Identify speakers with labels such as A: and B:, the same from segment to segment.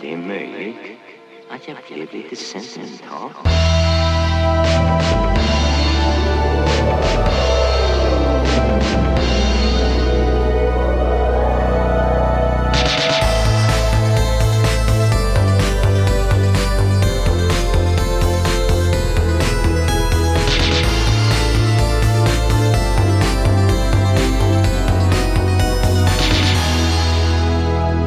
A: Det är möjligt att jag blev lite sentimental.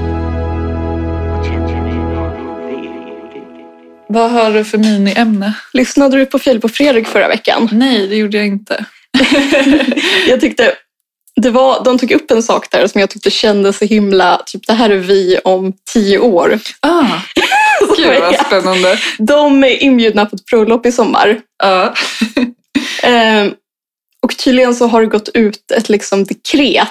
A: Jag känner mig velig.
B: Vad har du för miniämne?
C: Lyssnade du på Filip och Fredrik förra veckan?
B: Nej, det gjorde jag inte.
C: jag tyckte det var, de tog upp en sak där som jag tyckte kändes så himla, typ det här är vi om tio år.
B: Ah, gud vad spännande.
C: De är inbjudna på ett bröllop i sommar.
B: Ja.
C: Ehm, och tydligen så har det gått ut ett liksom dekret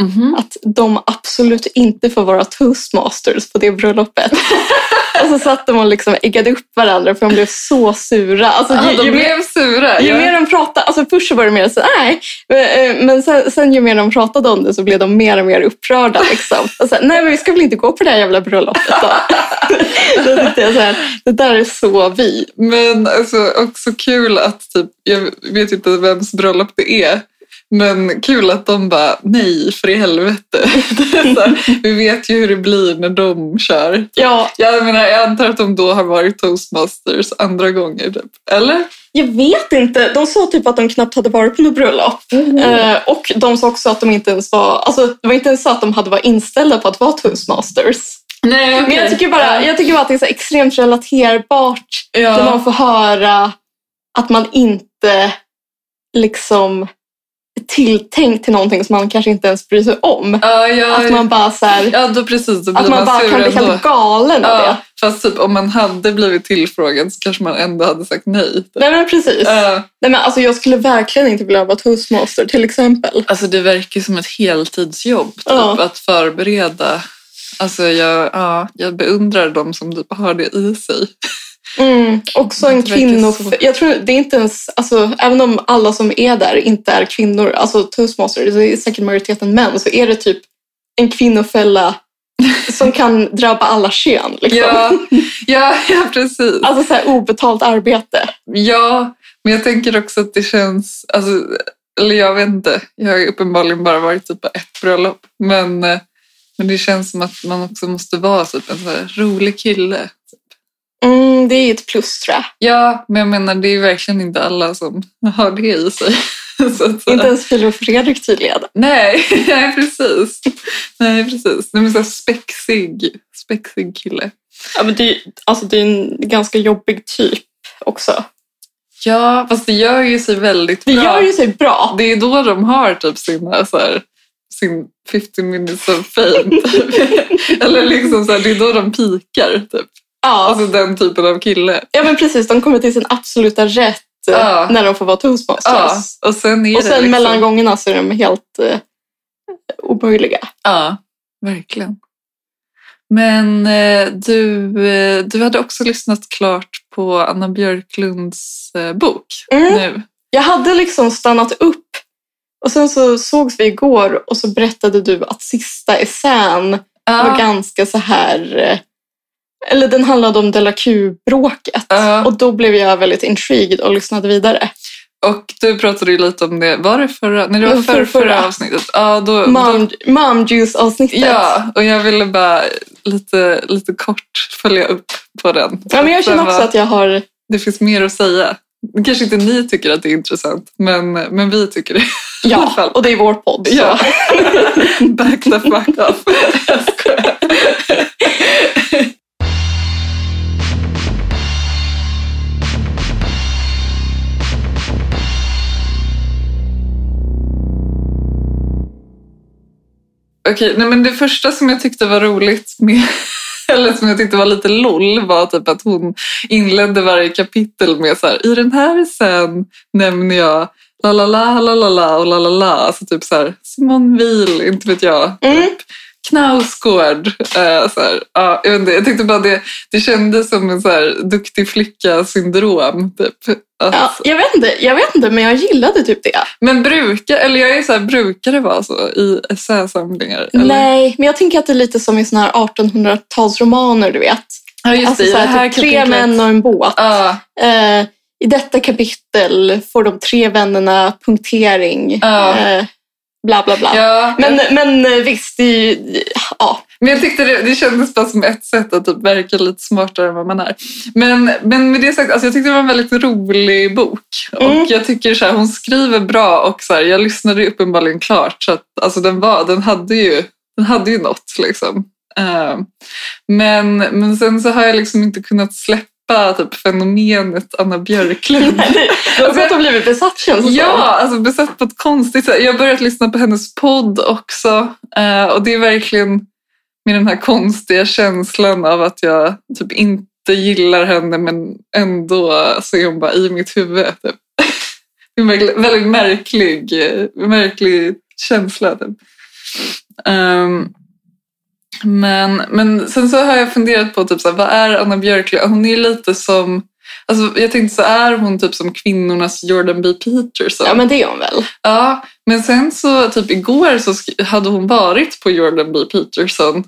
B: Mhm.
C: att de absolut inte får vara toastmasters på det bröllopet. och så satt de och liksom äggade upp varandra för de blev så sura. Alltså,
B: Ah,
C: ju-
B: de
C: ju mer-
B: blev sura.
C: Ju
B: Ja.
C: mer de pratade, alltså först så var det mer så nej. eh, eh, Men sen, sen ju mer de pratade om det så blev de mer och mer upprörda. Liksom. Och sen, nej men vi ska väl inte gå på det här jävla bröllopet då. då tyckte jag så här, det där är så vi.
B: Men alltså också kul att typ, jag vet inte vems bröllop det är, men kul att de bara nej för i helvete. Det är så här, Vi vet ju hur det blir när de kör.
C: Ja,
B: Jag menar, jag antar att de då har varit toastmasters andra gånger typ. Eller?
C: jag vet inte. De sa typ att de knappt hade varit på något bröllop. Eh, och de sa också att de inte ens var, alltså det var inte ens så att de hade varit inställda på att vara toastmasters.
B: Nej,
C: Men jag tycker bara, jag tycker bara att det är så extremt relaterbart
B: ja.
C: Där man får höra att man inte liksom är tilltänkt till någonting som man kanske inte ens bryr sig om.
B: ja, ja,
C: Att man bara så här,
B: ja, då precis. Då blir
C: att man bara
B: sur
C: kan bli
B: ändå.
C: helt galen av
B: ja,
C: det.
B: Fast typ, om man hade blivit tillfrågad så kanske man ändå hade sagt nej. typ. Eh,
C: Nej men precis.
B: Ja.
C: Nej, men alltså, jag skulle verkligen inte vilja vara toastmaster till exempel.
B: Alltså det verkar ju som ett heltidsjobb typ,
C: Ja.
B: att förbereda. Alltså jag, ja, jag beundrar de som typ har det i sig.
C: Mm. Också
B: Det
C: en
B: verkar
C: kvinno...
B: så.
C: Jag tror det är inte ens, alltså, även om alla som är där inte är kvinnor, alltså toastmaster, det är säkert majoriteten män, så är det typ en kvinnofälla som kan drabba alla kön. Liksom.
B: Ja, ja, ja precis.
C: Alltså så här obetalt arbete.
B: Ja, men jag tänker också att det känns... Alltså, eller jag vet inte. Jag har ju uppenbarligen bara varit typ på ett bröllop. Men, eh, men det känns som att man också måste vara typ en så här rolig kille.
C: Mm, det är ett plus tror jag.
B: Ja, men jag menar det är ju verkligen inte alla som har det i sig. Så att, säga.
C: Inte ens Filip och Fredrik tydligen.
B: Nej, nej precis. Nej, precis. Nej, men så här spexig, spexig kille.
C: Ja, men det, är, alltså, det är en ganska jobbig typ också.
B: Ja, fast det gör ju sig väldigt
C: Det
B: bra.
C: gör ju sig bra.
B: Det är då de har typ sina, så här, sin 50 minutes of fame. Typ. Eller liksom så här, det är då de pikar. Typ.
C: Ja.
B: Alltså den typen av kille.
C: ja, men precis. De kommer till sin absoluta rätt eh,
B: Ja.
C: när de får vara toastmasters.
B: Ja, och sen är
C: Och
B: det
C: sen
B: liksom...
C: mellan gångerna så är de helt eh, omöjliga.
B: Ja, verkligen. Men eh, du, eh, du hade också lyssnat klart på Anna Björklunds eh, bok
C: Mm.
B: nu.
C: Jag hade liksom stannat upp och sen så sågs vi igår och så berättade du att sista essän var
B: Ja,
C: ganska så här... eh, Eller den handlade om Della Q-bråket.
B: Ja.
C: Och då blev jag väldigt intrigued och lyssnade vidare.
B: och du pratade ju lite om det. Var det förra? Nej, det var
C: Det var
B: för, förra
C: förrförra.
B: avsnittet. Ja, då, då,
C: Mom, mom Juice-avsnittet.
B: Mm. ja, och jag ville bara lite, lite kort följa upp på den.
C: Ja, men jag känner
B: Den
C: också
B: var-
C: att jag har...
B: Det finns mer att säga. Kanske inte ni tycker att det är intressant, men, men vi tycker det. alla fall.
C: Ja, och det är vår podd. Så.
B: Ja. Back the fuck off. Jag skojar. Okej, nej men det första som jag tyckte var roligt med eller som jag tyckte var lite LOL var typ att hon inledde varje kapitel med så här, i den här sen nämner jag la la la la la la och la la la. Alltså typ så här, Simon Weil, inte vet jag.
C: Mm.
B: Knausgård. Eh, så här, ja, jag, vet inte, jag tyckte bara det, det kändes som en så här, duktig flicka-syndrom. Typ. Att-
C: Ja, jag, vet inte, jag vet inte, men jag gillade typ det.
B: Men brukar, eller jag är så här, brukar det vara så i essäsamlingar? eller?
C: Nej, men jag tänker att det är lite som i såna här 1800-talsromaner, du vet.
B: Ja, just
C: alltså,
B: det, i
C: så
B: det
C: här,
B: här
C: typ tre
B: kapitlet.
C: män och en båt.
B: Ja,
C: Eh, I detta kapitel får de tre vännerna punktering.
B: Ja.
C: Eh, bla, bla, bla.
B: ja. Men,
C: Men, men eh, visst, det är ju... Ja.
B: men jag tyckte det, det kändes bara som ett sätt att typ verka lite smartare än vad man är. Men, men med det sagt, alltså jag tyckte det var en väldigt rolig bok.
C: Mm.
B: Och jag tycker så här, hon skriver bra och så här, jag lyssnade ju uppenbarligen klart. Så att, alltså den, var, den, hade ju, den hade ju något liksom. Eh, men, men sen så har jag liksom inte kunnat släppa typ, fenomenet Anna Björklund.
C: Du har gått och blivit besatt känns det
B: Ja, alltså besatt på ett konstigt sätt. Jag har börjat lyssna på hennes podd också. eh, Och det är verkligen med den här konstiga känslan av att jag typ inte gillar henne men ändå så är hon bara i mitt huvud. Typ. Det är en verkl- väldigt märklig, eh, märklig känsla. Typ. Ehm, men, men sen så har jag funderat på typ så här, vad är Anna Björklund? Hon är lite som Alltså, jag tänkte så är hon typ som kvinnornas Jordan B. Peterson.
C: Ja, men det är hon väl.
B: Ja, men sen så typ igår så sk- hade hon varit på Jordan B. Peterson,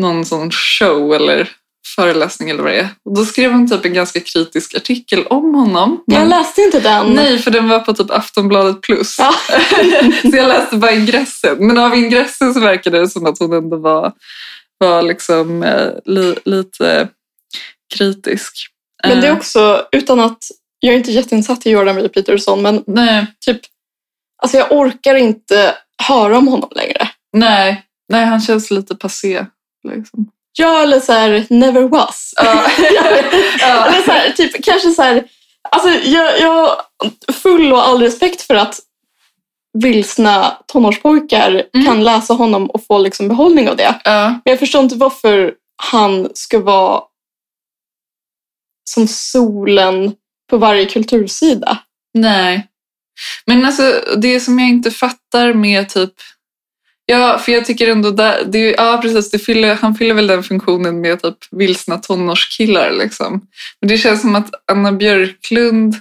B: någon sån show eller föreläsning eller vad det är. Och då skrev hon typ en ganska kritisk artikel om honom.
C: Jag
B: Men,
C: läste inte den.
B: Mm. nej, för den var på typ Aftonbladet plus.
C: Ja.
B: så jag läste bara ingressen. Men av ingressen så verkade det som att hon ändå var, var liksom eh, li, lite kritisk.
C: Men det är
B: Eh,
C: också, utan att... Jag är inte jätteinsatt i Jordan B. Peterson, men
B: Nej.
C: typ... Alltså jag orkar inte höra om honom längre.
B: Nej, nej han känns lite passé. Liksom.
C: Ja, eller så här, never was.
B: Ja. ja.
C: Eller så här, typ, kanske så här, alltså, jag, jag har full och all respekt för att vilsna tonårspojkar
B: Mm.
C: kan läsa honom och få liksom behållning av det.
B: ja.
C: Men jag förstår inte varför han ska vara som solen på varje kultursida.
B: Nej. Men alltså det som jag inte fattar med typ... Ja, för jag tycker ändå där, det, är- ja, precis, det fyller, han fyller väl den funktionen med typ vilsna tonårskillar. Liksom. Men det känns som att Anna Björklund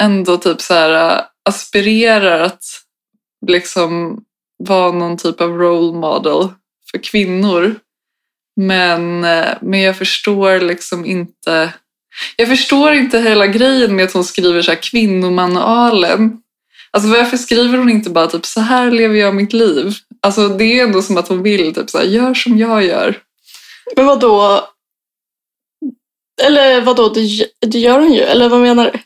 B: ändå typ så här, äh, aspirerar att liksom vara någon typ av role model för kvinnor. Men, eh, men jag förstår liksom inte... Jag förstår inte hela grejen med att hon skriver så här kvinnomanualen. Alltså varför skriver hon inte bara typ så här lever jag mitt liv? Alltså det är ju ändå som att hon vill typ så här, gör som jag gör.
C: Men vad då? Eller vad då? Det, gö- det gör hon ju. Eller vad menar du?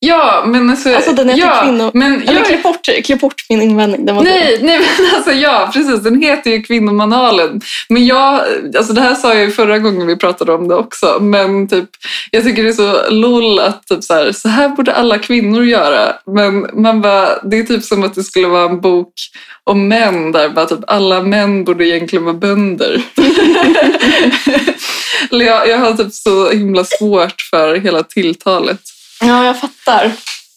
B: Ja, men alltså...
C: Alltså, den heter
B: ja,
C: kvinno-
B: Men
C: Eller
B: jag-
C: klipp bort, klipp bort min invändning. Den var dum.
B: Nej, nej men alltså ja, precis. Den heter ju Kvinnomanalen. Men jag, alltså det här sa jag ju förra gången vi pratade om det också, men typ, jag tycker det är så lol att typ så här, så här borde alla kvinnor göra. Men man bara, det är typ som att det skulle vara en bok om män där bara typ alla män borde egentligen vara bönder. Eller jag, jag har typ så himla svårt för hela tilltalet.
C: Ja, jag fattar.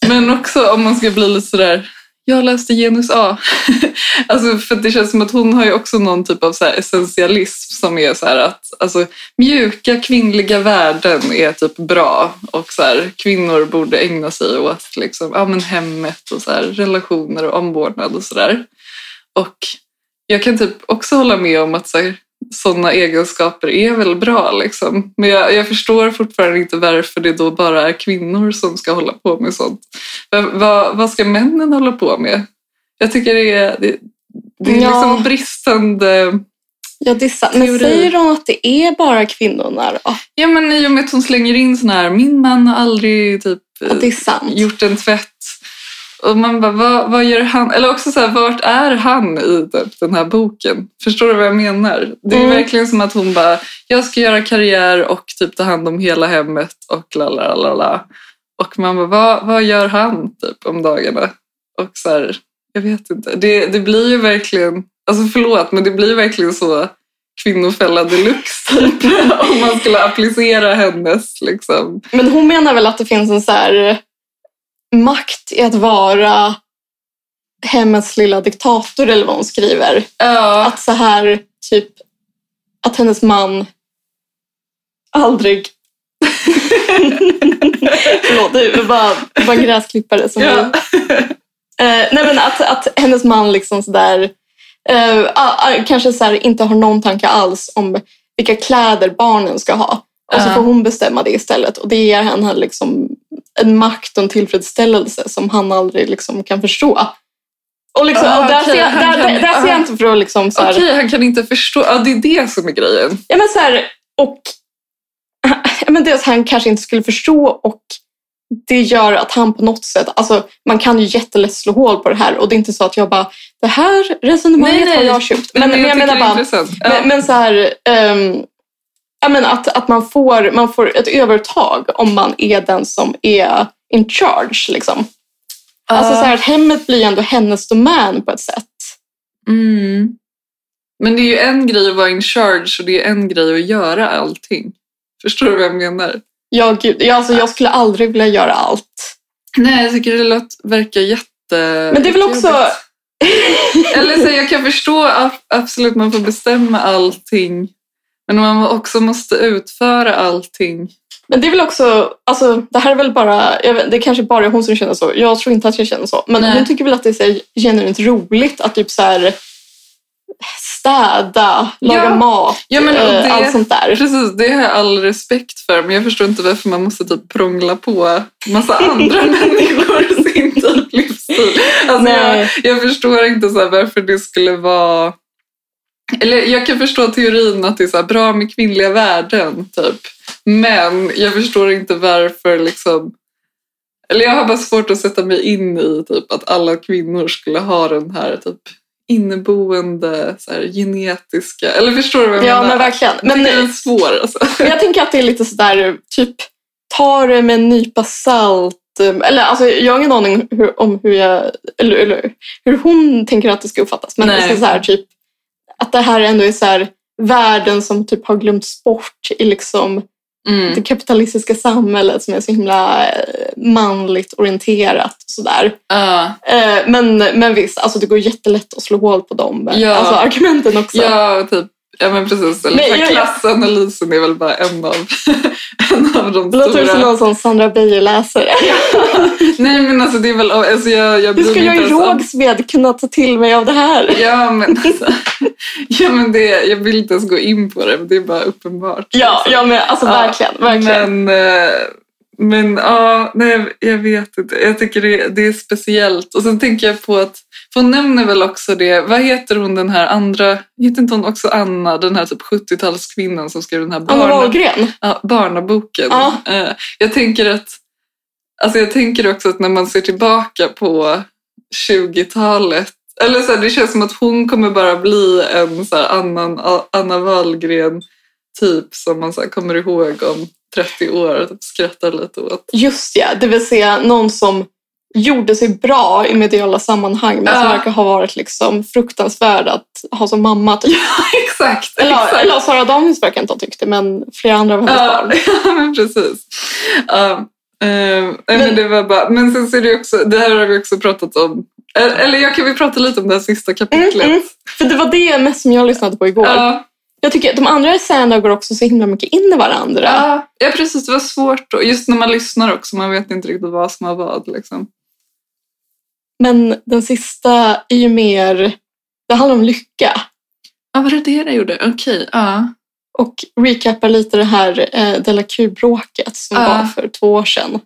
B: Men också om man ska bli lite sådär, jag läste genus A. alltså för att det känns som att hon har ju också någon typ av så här essentialism som är så här att alltså, mjuka kvinnliga värden är typ bra och så här, kvinnor borde ägna sig åt liksom, ja, men hemmet och så här, relationer och omvårdnad och sådär. Och jag kan typ också hålla med om att så här, sådana egenskaper är väl bra. Liksom. Men jag, jag förstår fortfarande inte varför det då bara är kvinnor som ska hålla på med sånt. Va, va, vad ska männen hålla på med? Jag tycker det är, det, det är
C: Ja.
B: liksom bristande...
C: Jag dissar. Men
B: Teori.
C: säger hon att det är bara kvinnorna då?
B: Ja, men i och med att hon slänger in sån här, min man har aldrig typ,
C: Att det är sant?
B: gjort en tvätt. Och man bara, vad, vad gör han? Eller också så här, vart är han i typ den här boken? Förstår du vad jag menar? Det är
C: Mm.
B: verkligen som att hon bara, jag ska göra karriär och typ ta hand om hela hemmet och la la la la. Och man bara, vad, vad gör han typ om dagarna? Och så här, jag vet inte. Det, det blir ju verkligen, alltså förlåt, men det blir verkligen så kvinnofälla deluxe typ. om man skulle applicera hennes liksom.
C: Men hon menar väl att det finns en så här eh, makt i att vara hemmets lilla diktator eller vad hon skriver.
B: Ja.
C: Att så här typ att hennes man aldrig... Förlåt, det var bara, bara en gräsklippare som vi-
B: Ja.
C: Eh, nej men att, att hennes man liksom sådär, eh, ah, ah, kanske såhär, inte har någon tanke alls om vilka kläder barnen ska ha. Och så
B: Ja.
C: får hon bestämma det istället. Och det ger henne liksom en makt och en tillfredsställelse som han aldrig liksom kan förstå. Och liksom,
B: Ah,
C: och där,
B: okej,
C: ser jag,
B: han
C: där,
B: kan-
C: där, där ser
B: ah.
C: jag inte för att liksom så
B: Okej, han kan inte förstå. Ja, det är det som är grejen.
C: Ja, men så här, och ja, men dels han kanske inte skulle förstå och det gör att han på något sätt, alltså man kan ju jättelätt slå hål på det här och det är inte så att jag bara, det här resonemanget
B: Nej, nej.
C: har jag köpt. Men, men jag
B: tycker
C: menar
B: det är
C: bara,
B: intressant. Ja.
C: men, men så här, ehm, ja, men att, att man, får, man får ett övertag om man är den som är in charge. Liksom. Alltså
B: Ja.
C: så här, att hemmet blir ändå hennes domän på ett sätt.
B: Mm. Men det är ju en grej att vara in charge och det är en grej att göra allting. Förstår du vad jag menar?
C: Jag, gud, jag, alltså, jag skulle aldrig vilja göra allt.
B: Nej, jag tycker det låt, verkar jätte...
C: Men det är väl också,
B: jättejobbigt. Eller så jag kan förstå att absolut man får bestämma allting. Men man också måste utföra allting.
C: Men det är väl också, alltså, det här är väl bara, jag vet, det kanske bara är hon som känner så. Jag tror inte att jag känner så. Men
B: Nej.
C: hon tycker väl att det är så här genuint roligt att typ så här städa, laga
B: Ja.
C: mat,
B: Ja, men, och
C: eh,
B: det-
C: allt sånt där.
B: Precis, det har jag all respekt för. Men jag förstår inte varför man måste typ prångla på massa andra människor sin typ livsstil. Alltså, jag,
C: Nej.
B: jag förstår inte så här varför det skulle vara... Eller jag kan förstå teorin att det är så här bra med kvinnliga värden, typ. Men jag förstår inte varför liksom... Eller jag har bara svårt att sätta mig in i typ att alla kvinnor skulle ha den här typ inneboende så här, genetiska... Eller förstår du vad jag
C: Ja
B: menar?
C: men verkligen. Men
B: det är svår alltså.
C: jag tänker att det är lite sådär, typ ta det med en nypa salt. eh, Eller alltså, jag har ingen aning hur, om hur jag, eller, eller hur hon tänker att det ska uppfattas. Men
B: Nej.
C: det är så här, typ att det här ändå är så här, värden som typ har glömts bort i liksom
B: Mm.
C: det kapitalistiska samhället som är så himla eh, manligt orienterat. Och sådär.
B: Ja,
C: Eh, Men, men visst, alltså det går jättelätt att slå hål på de eh,
B: Ja.
C: alltså, argumenten också.
B: ja, och typ. Ja, men precis. Eller,
C: Men
B: så här,
C: jag-
B: Klassanalysen är väl bara en av, en av de
C: Det låter som
B: stora.
C: någon sån Sandra Beijer-läsare.
B: Nej, men alltså det är väl... Alltså, jag, jag
C: Hur
B: bryr
C: ska
B: mig
C: jag i
B: inte ens om-
C: Rågsved kunna ta till mig av det här?
B: Ja, men alltså. Ja, men det, jag vill inte ens gå in på det. men Det är bara uppenbart.
C: Ja, ja men alltså
B: Ja,
C: verkligen. verkligen.
B: Men, eh, men ja, nej, jag vet inte. Jag tycker det, det är speciellt. Och sen tänker jag på att, för hon nämner väl också det, vad heter hon den här andra, heter inte hon också Anna, den här typ 70-talskvinnan som skrev den här
C: Anna
B: barna,
C: Wahlgren.
B: ja, barnaboken.
C: Ja.
B: Eh, jag tänker att, alltså jag tänker också att när man ser tillbaka på 20-talet, eller så här, det känns som att hon kommer bara bli en så här annan, Anna Wahlgren typ som man så här kommer ihåg om 30 år och typ skrattar lite åt.
C: Just ja, det vill säga någon som gjorde sig bra i mediala sammanhang men som
B: Ja.
C: verkar ha varit liksom fruktansvärd att ha som mamma. Typ.
B: Exakt!
C: Eller,
B: exakt.
C: eller Sara Danius verkar inte ha tyckt det, men flera andra av hennes
B: Ja,
C: barn.
B: ja, men precis. Ja, eh, men,
C: Men-
B: det var bara, men sen ser det ju också, det här har vi också pratat om, Eh, eller jag kan vi prata lite om det här sista kapitlet?
C: Mm, mm. För det var det mest som jag lyssnade på igår.
B: Ja,
C: Jag tycker att de andra essäerna går också så himla mycket in i varandra.
B: ja, ja, precis. Det var svårt. Och just när man lyssnar också, man vet inte riktigt vad som har vad. Liksom.
C: Men den sista är ju mer, det handlar om lycka.
B: Ja, var det det jag gjorde? Okej, ja.
C: Och recapar lite det här eh, Della Q-bråket som
B: Ja.
C: var för två år sedan.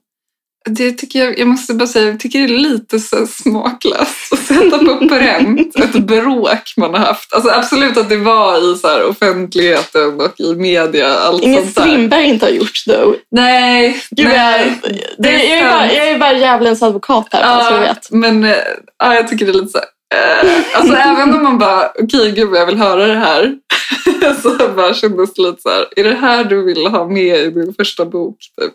B: Det tycker jag, jag måste bara säga, jag tycker det är lite så här smaklöst att sätta på pränt ett bråk man har haft. Alltså absolut att det var i så här offentligheten och i media, allt
C: Inget
B: sånt där.
C: Strindberg inte har gjort though.
B: Nej,
C: Gud, jag,
B: nej.
C: det,
B: är
C: jag, är bara,
B: sant.
C: jag är bara djävulens advokat här, bara så du
B: Ja,
C: Alltså, vet.
B: men eh, ja, jag tycker det är lite så här, eh, Alltså även om man bara, okej gud vad jag vill höra det här. så bara kändes det lite så här, är det här du vill ha med i din första bok? Typ.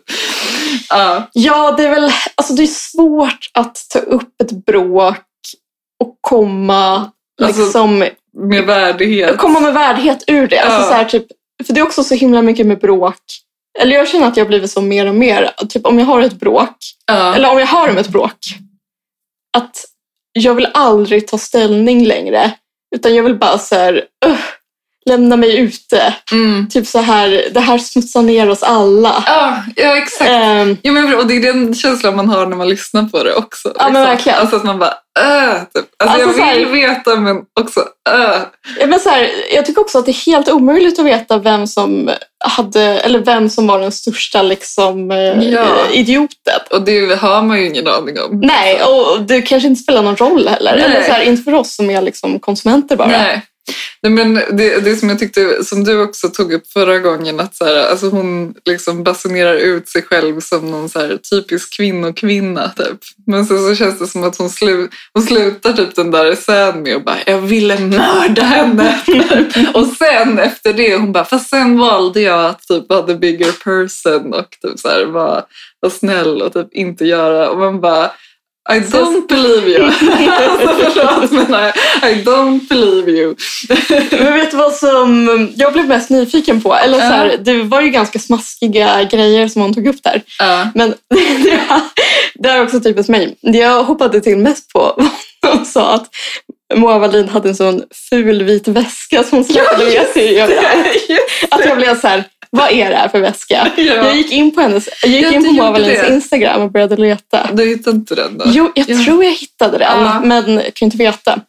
B: Ja,
C: Ja, det är väl alltså det är svårt att ta upp ett bråk och komma,
B: Alltså,
C: liksom,
B: med värdighet.
C: komma med värdighet ur det.
B: Ja.
C: Alltså, så här, typ, för det är också så himla mycket med bråk. Eller jag känner att jag har blivit så mer och mer. Typ om jag har ett bråk,
B: Ja.
C: eller om jag hör om ett bråk, att jag vill aldrig ta ställning längre. Utan jag vill bara så här, "Ugh, lämna mig ute.
B: Mm.
C: Typ så här, det här smutsar ner oss alla.
B: Ja, ja, exakt.
C: Ehm,
B: Eh. Jo, men, och det är den känslan man har när man lyssnar på det också.
C: Ja, men verkligen.
B: Alltså att man bara äh, typ.
C: Alltså,
B: alltså,
C: så
B: Jag
C: här-
B: vill veta men också äh.
C: ja, men så här, jag tycker också att det är helt omöjligt att veta vem som, hade, eller vem som var den största liksom, eh,
B: Ja.
C: idioten.
B: Och det har man ju ingen aning om. Alltså.
C: Nej, och det kanske inte spelar någon roll heller.
B: Nej.
C: Eller så här, inte för oss som är liksom konsumenter bara.
B: Nej. Nej, men det, det som jag tyckte, som du också tog upp förra gången, att så här, alltså hon liksom basunerar ut sig själv som någon så här typisk kvinnokvinna. Typ. Men sen så känns det som att hon, slu, hon slutar typ den där essän med och bara “jag ville mörda henne”. och sen efter det, hon bara “fast sen valde jag att typ vara the bigger person och typ så här, vara, vara snäll och typ inte göra”. Och man bara “I don't believe you”. alltså, förlåt, men I, I don't believe you.
C: Men vet du vad som jag blev mest nyfiken på? Eller så här,
B: Ja.
C: Det var ju ganska smaskiga grejer som hon tog upp där.
B: Ja.
C: Men det, var, det är också typiskt mig. Det jag hoppade till mest på var när hon sa att Moa Wallin hade en sån ful vit väska som hon släppte med sig. överallt. Att jag blev så här, vad är det här för väska? Jag gick in på, hennes, jag gick
B: Ja,
C: in
B: du
C: på Moa
B: gjorde
C: Wallins
B: det.
C: Instagram och började leta.
B: Du hittade inte den då?
C: Jo, jag
B: Ja.
C: tror jag hittade den,
B: Ja.
C: men jag kan inte veta.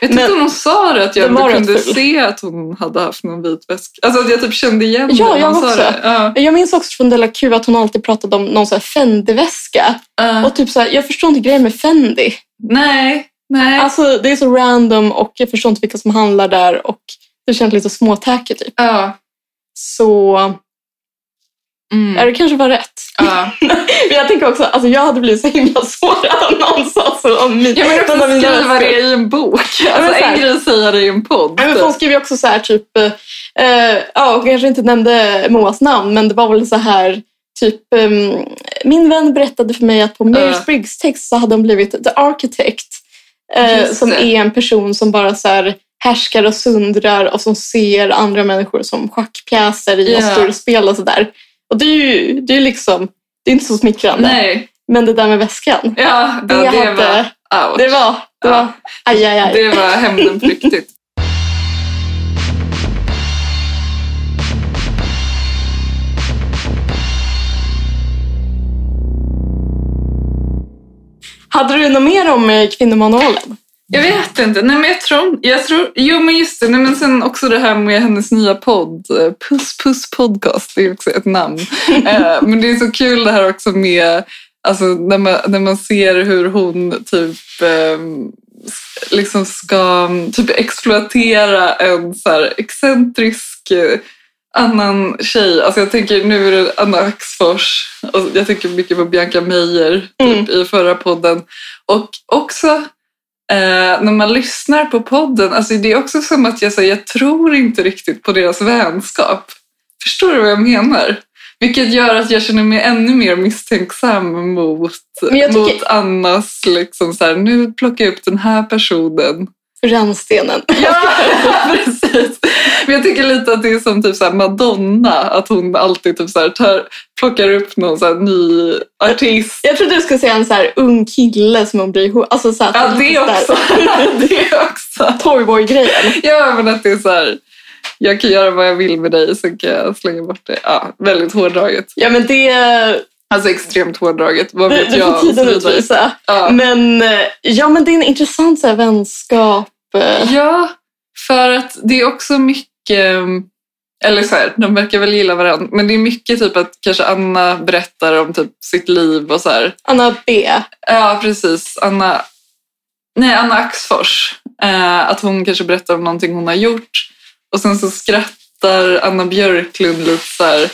B: jag tyckte
C: men-
B: hon sa det, att jag
C: Den var
B: ändå
C: rätt
B: kunde
C: ful.
B: se att hon hade haft någon vit väska. Alltså att jag typ kände igen
C: Ja,
B: den. när
C: jag
B: hon sa
C: också.
B: det. Ja.
C: Jag minns också från Della Q att hon alltid pratade om någon sån här Fendi-väska.
B: Ja.
C: Och typ så här, jag förstår inte grejen med Fendi.
B: nej, nej.
C: Alltså det är så random och jag förstår inte vilka som handlar där och det känns lite småtäcke typ.
B: ja.
C: Så
B: Mm.
C: ja, det kanske var rätt.
B: ja.
C: Men jag tänker också, alltså jag hade blivit så himla sårad om någon sa så om min,
B: Jag vill
C: någon
B: också
C: av mina
B: skriva
C: väskor.
B: det i en bok.
C: men
B: Alltså,
C: så här-
B: en grej säga det i en podd.
C: Nej, men folk skrev ju också så här typ, eh, ja hon kanske inte nämnde Moas namn men det var väl så här typ, ehm, min vän berättade för mig att på Myers
B: Ja.
C: Briggs text så hade hon blivit the architect. Eh,
B: Just
C: som
B: det.
C: är en person som bara så här härskar och sundrar och som ser andra människor som schackpjäser i
B: Ja.
C: yeah. större spel och sådär. Och det är ju det är ju liksom, det är inte så smickrande.
B: Nej.
C: Men det där med väskan,
B: Ja,
C: det,
B: det, ja, det
C: hade,
B: var... Ouch.
C: det var, det
B: Ja.
C: var, aj aj aj.
B: Det var hämnden på riktigt.
C: Hade du något mer om eh, kvinnomanualen?
B: Jag vet inte. Nej, men jag tror, jag tror, jo, men just det. Nej, men sen också det här med hennes nya podd. eh, Puss Puss Podcast. Det är också ett namn. Eh, men det är så kul det här också med alltså, när, man, när man ser hur hon typ ehm, s- liksom ska mm, typ exploatera en så här excentrisk eh, annan tjej. Alltså jag tänker nu är det Anna Axfors och jag tänker mycket på Bianca Meijer typ, i förra podden. Och också Eh, när man lyssnar på podden, alltså det är också som att jag säger jag tror inte riktigt på deras vänskap. Förstår du vad jag menar? Vilket gör att jag känner mig ännu mer misstänksam mot,
C: Men jag tycker-
B: mot Annas, liksom så här, nu plockar jag upp den här personen.
C: Rännstenen.
B: Ja, precis. Men jag tycker lite att det är som typ så här Madonna, att hon alltid typ så här tar, plockar upp någon så här ny artist
C: Jag trodde du skulle säga en så här ung kille som hon blir ihop alltså så här,
B: Ja, det
C: lite så
B: också.
C: här
B: det också.
C: Toyboy-grejen.
B: Ja, men att det är så här. Jag kan göra vad jag vill med dig, sen kan jag slänga bort det. Ja, väldigt hårdraget.
C: Ja, men det,
B: Alltså extremt hårdraget. Vad
C: det,
B: vet
C: det
B: jag?
C: får
B: och så
C: tiden
B: vidare.
C: utvisa.
B: Ja.
C: Men, eh, ja, men det är en intressant så här, vänskap. eh.
B: ja, för att det är också mycket... ehm, Eller så här, de verkar väl gilla varandra. Men det är mycket typ att kanske Anna berättar om typ sitt liv och så här.
C: Anna B.
B: Ja, precis. Anna, nej, Anna Axfors. Eh, att hon kanske berättar om någonting hon har gjort. Och sen så skrattar Anna Björklund lite så här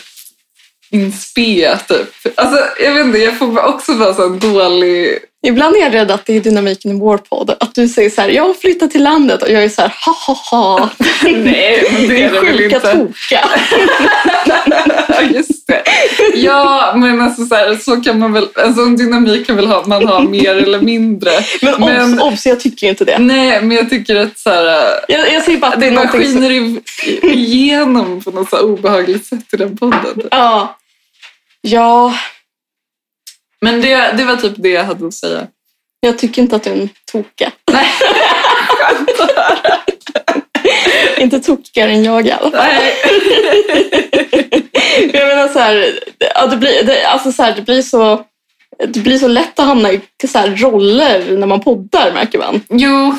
B: in spe, typ. Alltså, jag vet inte, jag får bara- också bara så här dålig...
C: Ibland är jag rädd att det är dynamiken i vår podd. Att du säger så här, jag har flyttat till landet och jag är så här, ha ha ha.
B: Nej, men
C: Det är
B: väl
C: sjuka
B: inte.
C: toka.
B: Just det. Ja, men alltså så, här, så kan man väl... alltså, En sån dynamik kan väl ha, man ha mer eller mindre.
C: Men obs,
B: Men-
C: obs, jag tycker inte det.
B: Nej, men jag tycker att så här...
C: Jag, jag säger bara att det är
B: Det bara
C: någonting som...
B: skiner i- igenom på något så här obehagligt sätt i den podden.
C: Ja. ja,
B: Men det, det var typ det jag hade att säga.
C: jag tycker inte att du är en toka. Inte tokigare än jag i alla fall.
B: Nej.
C: jag menar så här, ja, det, blir, det, alltså så här, det blir så... Det blir så lätt att hamna i så här roller när man poddar märker man.
B: Jo,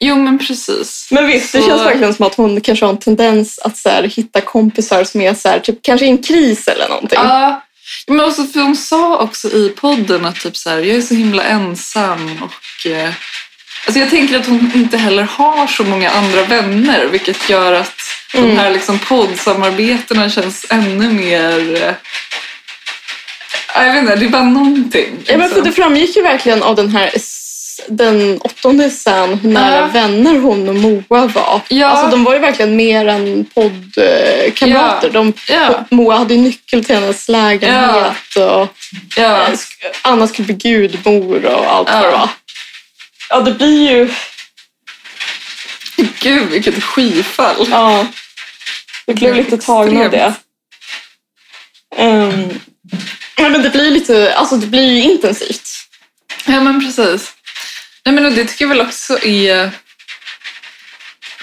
B: jo men precis.
C: Men visst, det
B: Så-
C: känns verkligen som att hon kanske har en tendens att så här, hitta kompisar som är så här, typ, kanske i en kris eller någonting.
B: Ja. Men också, för hon sa också i podden att typ så här, jag är så himla ensam och... Eh, alltså jag tänker att hon inte heller har så många andra vänner vilket gör att de
C: Mm.
B: här liksom poddsamarbetena känns ännu mer... Eh, jag vet inte, det är bara någonting.
C: Ja, men för
B: liksom.
C: det framgick ju verkligen av den här s- den åttonde sen hur nära
B: Ja.
C: vänner hon och Moa var.
B: Ja.
C: Alltså, de var ju verkligen mer än poddkamrater.
B: Ja.
C: De,
B: ja,
C: Moa hade ju nyckel till hennes lägenhet och
B: ja.
C: sk- Anna skulle bli gudmor och allt
B: Ja.
C: vad det var. Ja, det blir ju...
B: Gud, vilket skifall.
C: Ja. Vi blev
B: Det är
C: lite tagna av det.
B: extremt.
C: Ehm, nej, men det blir lite... Alltså, det blir ju intensivt.
B: Ja, men precis. Nej, men och det tycker jag väl också är...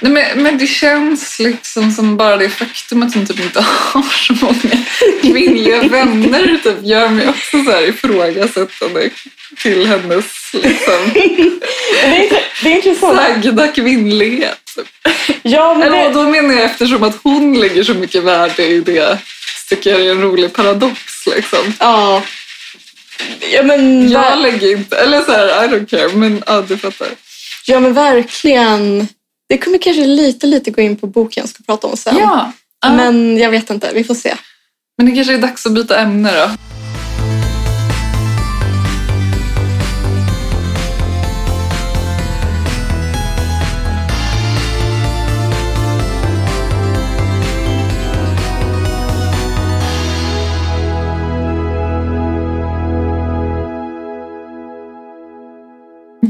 B: Nej, men, men det känns liksom som bara det faktum att hon typ inte har så många kvinnliga vänner typ gör mig också så här ifrågasättande till hennes liksom,
C: Det är, inte- det är intressant.
B: sagda kvinnlighet.
C: Ja, men
B: Eller, och
C: det,
B: då menar jag eftersom att hon lägger så mycket värde i det så tycker jag det är en rolig paradox. Liksom.
C: ja. Ja, men,
B: Jag
C: ver-
B: lägger inte... Eller så här, I don't care. Men ja, du fattar.
C: ja, men verkligen. Det kommer kanske lite, lite gå in på boken jag ska prata om sen.
B: Ja.
C: Men jag vet inte, vi får se.
B: Men det kanske är dags att byta ämne då.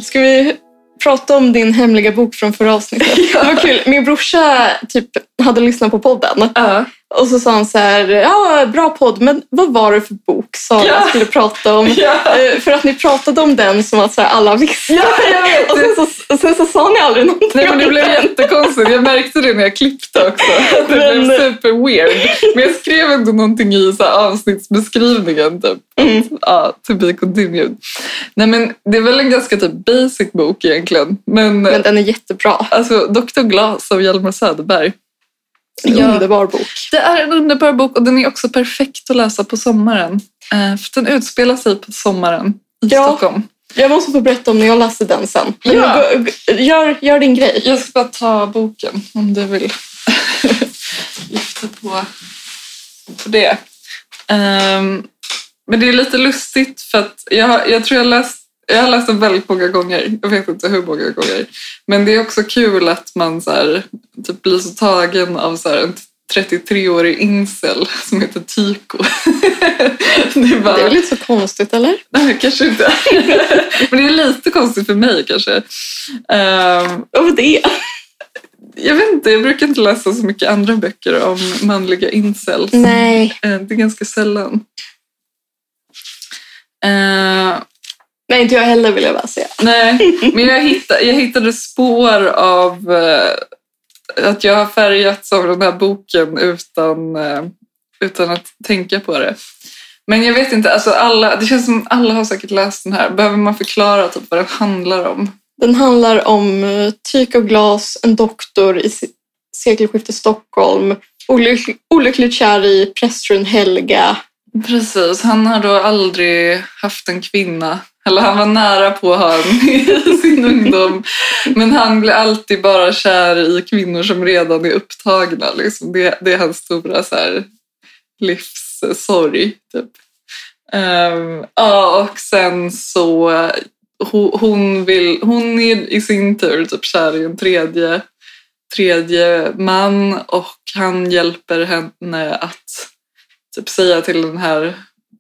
C: Ska vi prata om din hemliga bok från förra avsnittet? Det var kul. Min brorsa typ, hade lyssnat på podden
B: Ja.
C: och så sa han så här, ja, bra podd, men vad var det för bok som
B: Ja.
C: jag skulle prata om?
B: Ja.
C: Eh, För att ni pratade om den som att så här, alla visste.
B: jag vet.
C: Och sen så, sen så sa ni aldrig någonting
B: Nej, men det
C: om
B: blev
C: den.
B: jättekonstigt. Jag märkte det när jag klippte också. Det
C: Men-
B: blev super weird. Men jag skrev ändå någonting i så här avsnittsbeskrivningen. Typ.
C: Mm.
B: Ja, to be continued. Nej, men det är väl en ganska typ basic bok egentligen. Men,
C: Men den är jättebra.
B: alltså Dr. Glas av Hjalmar Söderberg. Ja.
C: Underbar bok.
B: Det är en underbar bok och den är också perfekt att läsa på sommaren. Eh, För den utspelar sig på sommaren i
C: Ja.
B: Stockholm.
C: Jag måste få berätta om när jag läste den sen. Men
B: Ja.
C: gå- gå- gör, gör din grej.
B: Jag ska bara ta boken om du vill lyfta på, på det. Ehm, men det är lite lustigt för att jag, har- jag tror jag läst jag har läst den väldigt många gånger. Jag vet inte hur många gånger. Men det är också kul att man så här, typ blir så tagen av så här, en 33-årig incel som heter Tyko. det är bara,
C: Det är väl inte så konstigt, eller?
B: nej, kanske inte. men det är lite konstigt för mig kanske. Ehm,
C: Och det.
B: jag vet inte, jag brukar inte läsa så mycket andra böcker om manliga incels.
C: Nej.
B: Eh, Det är ganska sällan. Eh,
C: Nej, inte jag heller vill jag bara säga.
B: nej, men jag hittade, jag hittade spår av eh, att jag har färgats av den här boken utan, eh, utan att tänka på det. Men jag vet inte, alltså alla, det känns som alla har säkert läst den här. Behöver man förklara typ vad den handlar om?
C: Den handlar om eh, Tyk och Glas, en doktor i se- sekelskiftet Stockholm. Olyckligt, olyckligt kär i prästrun Helga.
B: Precis, han har då aldrig haft en kvinna. Eller han var nära på att ha en i sin ungdom. Men han blir alltid bara kär i kvinnor som redan är upptagna. Liksom. Det, det är hans stora så här, livssorg. Typ. Ehm, ja, och sen så... ho- Hon, vill, hon är i sin tur typ kär i en tredje, tredje man och han hjälper henne att typ säga till den här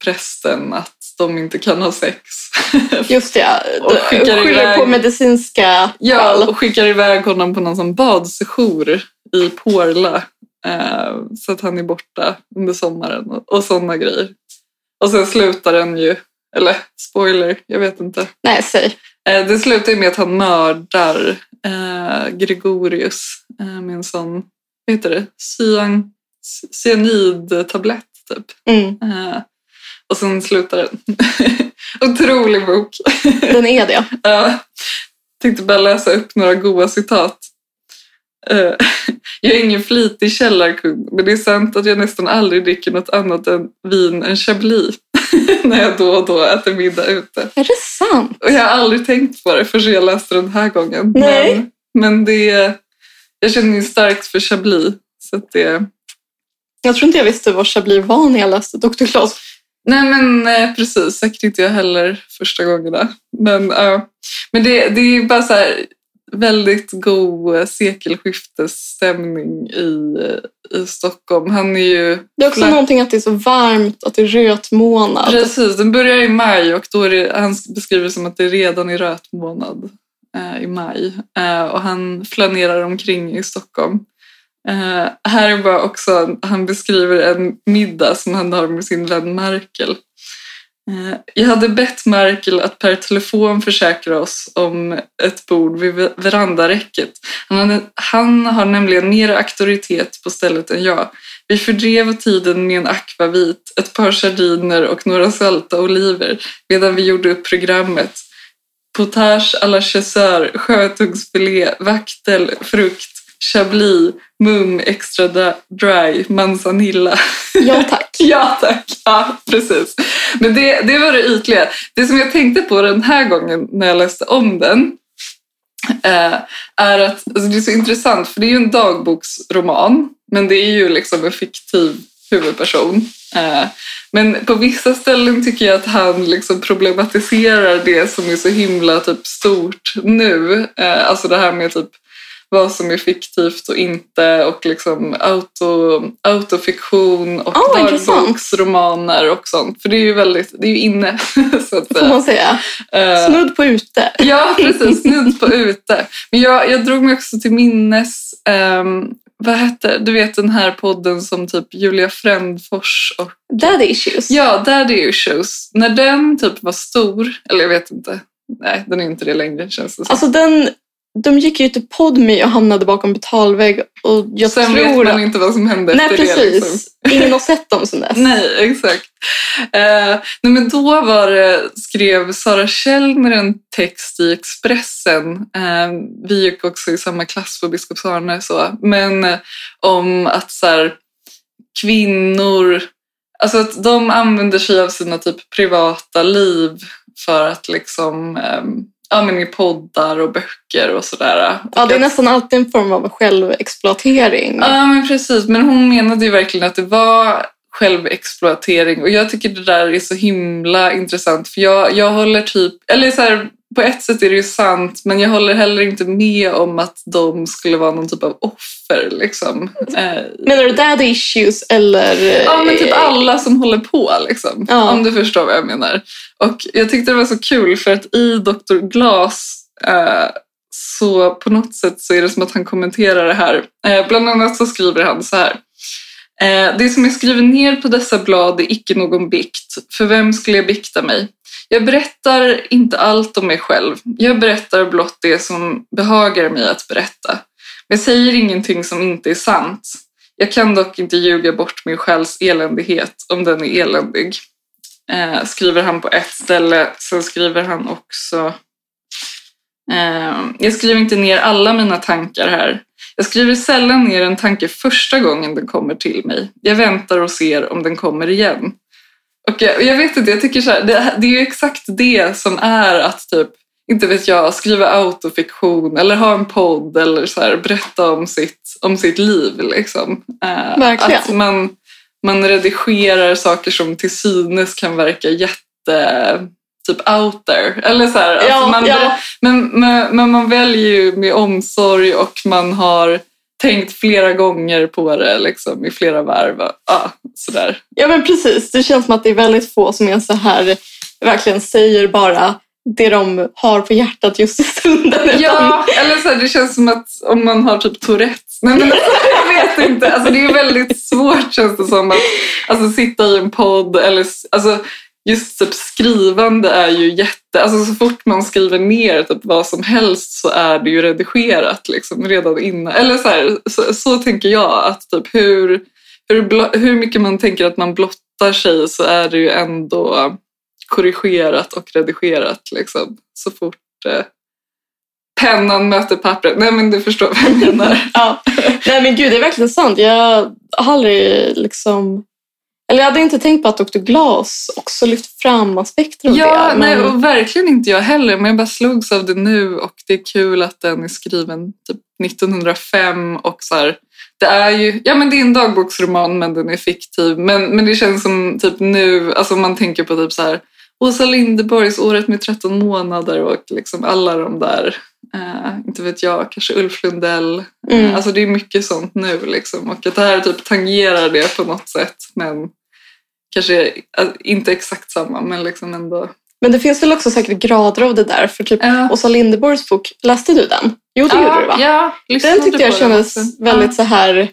B: prästen att de inte kan ha sex.
C: Just det,
B: Och
C: d-
B: skickar
C: skyller
B: iväg-
C: på medicinska
B: ja,
C: skäl.
B: och skickar iväg honom på någon som badsejour i Porla eh, så att han är borta under sommaren och, och sådana grejer. Och sen slutar den ju, eller spoiler, jag vet inte.
C: Nej, säg.
B: Eh, Det slutar ju med att han mördar eh, Gregorius eh, med en sån, vad heter det, cyan, c- cyanidtablett typ.
C: Mm,
B: Eh, och sen slutar den. Otrolig bok.
C: den är det.
B: Ja, tänkte bara läsa upp några goda citat. Eh, Jag är ingen flitig källarkung, men det är sant att jag nästan aldrig dricker något annat än vin än chablis när jag då och då äter middag ute.
C: Är det sant?
B: Och jag har aldrig tänkt på det förrän jag läste den här gången.
C: Nej.
B: Men, men det, jag känner ju starkt för chablis. Så att det,
C: Jag tror inte jag visste vad Chablis var när jag läste Dr. Claes.
B: nej men eh, precis, säkert inte jag heller första gångerna. Men, ja. men det, det är ju bara så här väldigt god eh, sekelskiftesstämning i, i Stockholm. Han är ju...
C: Det är också
B: Klart.
C: någonting att det är så varmt, att det är rötmånad.
B: Precis, den börjar i maj och då är det, han beskriver det som att det redan är rötmånad eh, i maj. Eh, och han flanerar omkring i Stockholm. Eh, här är bara också, han beskriver en middag som han har med sin vän Merkel. Eh, jag hade bett Merkel att per telefon försäkra oss om ett bord vid ve- verandaräcket. Han, hade, han har nämligen mer auktoritet på stället än jag. Vi fördrev tiden med en akvavit, ett par sardiner och några salta oliver medan vi gjorde upp programmet. Potage à la chasseur, sjötungsfilé, vaktel, frukt, chablis, mum, extra da- dry, manzanilla.
C: Ja, tack.
B: Ja tack, ja precis. Men det, det var det ytliga. Det som jag tänkte på den här gången när jag läste om den eh, är att alltså det är så intressant för det är ju en dagboksroman men det är ju liksom en fiktiv huvudperson. Eh, men på vissa ställen tycker jag att han liksom problematiserar det som är så himla typ, stort nu. Eh, alltså det här med typ vad som är fiktivt och inte och liksom auto, autofiktion och
C: Ah, intressant.
B: dagboksromaner och sånt. För det är ju väldigt, det är ju inne. så att,
C: Får
B: säga.
C: man säga.
B: Eh,
C: Snudd på ute.
B: Ja, precis. Snudd på ute. Men jag, jag drog mig också till minnes, ehm, vad hette du vet den här podden som typ Julia Frändfors och
C: Daddy issues.
B: ja, Daddy Issues. När den typ var stor, eller jag vet inte, nej den är inte det längre känns det som.
C: Alltså den, de gick ju till Podme och hamnade bakom betalvägg och jag
B: Sen
C: tror...
B: vet man inte vad som hände
C: Nej,
B: efter
C: precis.
B: det. liksom.
C: Ingen har sett dem sedan dess.
B: Nej, exakt. Eh, nej, men då var det, skrev Sara Källner en text i Expressen. Eh, vi gick också i samma klass på Biskops Arne. Så, men eh, om att så här, kvinnor... Alltså att de använder sig av sina typ privata liv för att liksom... ehm, ja, men i poddar och böcker och sådär.
C: Ja, det är
B: Och att-
C: nästan alltid en form av självexploatering.
B: Ja, men precis. Men hon menade ju verkligen att det var självexploatering och jag tycker det där är så himla intressant för jag, jag håller typ, eller så här, på ett sätt är det ju sant men jag håller heller inte med om att de skulle vara någon typ av offer liksom. Eh,
C: Menar du daddy issues eller...
B: Ja, men typ
C: eh,
B: alla som håller på, liksom.
C: Ja.
B: om du förstår vad jag menar. Och Jag tyckte det var så kul för att i Dr. Glass eh, så på något sätt så är det som att han kommenterar det här. Eh, bland annat så skriver han så här. Eh, det som jag skriver ner på dessa blad är icke någon bikt, för vem skulle jag bikta mig? Jag berättar inte allt om mig själv. Jag berättar blott det som behagar mig att berätta. Jag säger ingenting som inte är sant. Jag kan dock inte ljuga bort min själs eländighet om den är eländig. Eh, skriver han på ett ställe. Sen skriver han också... Eh, jag skriver inte ner alla mina tankar här. Jag skriver sällan ner en tanke första gången den kommer till mig. Jag väntar och ser om den kommer igen. Och jag, jag vet inte, jag tycker så här, det, det är ju exakt det som är att typ, inte vet jag, skriva autofiktion eller ha en podd eller så här, berätta om sitt, om sitt liv. Liksom. Eh,
C: Verkligen.
B: Att man, man redigerar saker som till synes kan verka jätte typ out there. Eller så här,
C: Ja,
B: alltså man,
C: ja.
B: Men, men, men man väljer ju med omsorg och man har tänkt flera gånger på det liksom, i flera varv. Ja, sådär.
C: Ja, men precis. Det känns som att det är väldigt få som är så här, verkligen säger bara det de har på hjärtat just i stunden. utan-
B: Ja, eller så här, det känns som att om man har typ Tourettes. Nej, men alltså, jag vet inte. Alltså, det är väldigt svårt känns det som att alltså, sitta i en podd eller s- alltså, just typ skrivande är ju jätte... Alltså så fort man skriver ner typ vad som helst så är det ju redigerat liksom redan innan. Eller så, här, så, så tänker jag att typ hur, hur, blo- hur mycket man tänker att man blottar sig så är det ju ändå korrigerat och redigerat liksom så fort eh, pennan möter pappret. Nej men du förstår vad jag menar.
C: Ja. Nej men gud, det är verkligen sant. Jag har aldrig liksom... Eller jag hade inte tänkt på att Dr. Glas också lyft fram aspekter av
B: Ja,
C: det.
B: nej, och verkligen inte jag heller. Men jag bara slogs av det nu och det är kul att den är skriven typ 1905 och så här, det är ju, ja men det är en dagboksroman men den är fiktiv. Men, men det känns som typ nu, alltså om man tänker på typ så här Åsa Linderborgs Året med 13 månader och liksom alla de där, eh, inte vet jag, kanske Ulf Lundell.
C: Mm.
B: Eh, Alltså det är mycket sånt nu liksom och att det här typ tangerar det på något sätt men kanske eh, inte exakt samma men liksom ändå.
C: Men det finns väl också säkert grader av det där. För typ
B: Ja.
C: Åsa Linderborgs bok, läste du den? Jo, det gjorde du va?
B: Ja, lyssnade
C: Den tyckte
B: typ på
C: jag kändes
B: också?
C: väldigt så här...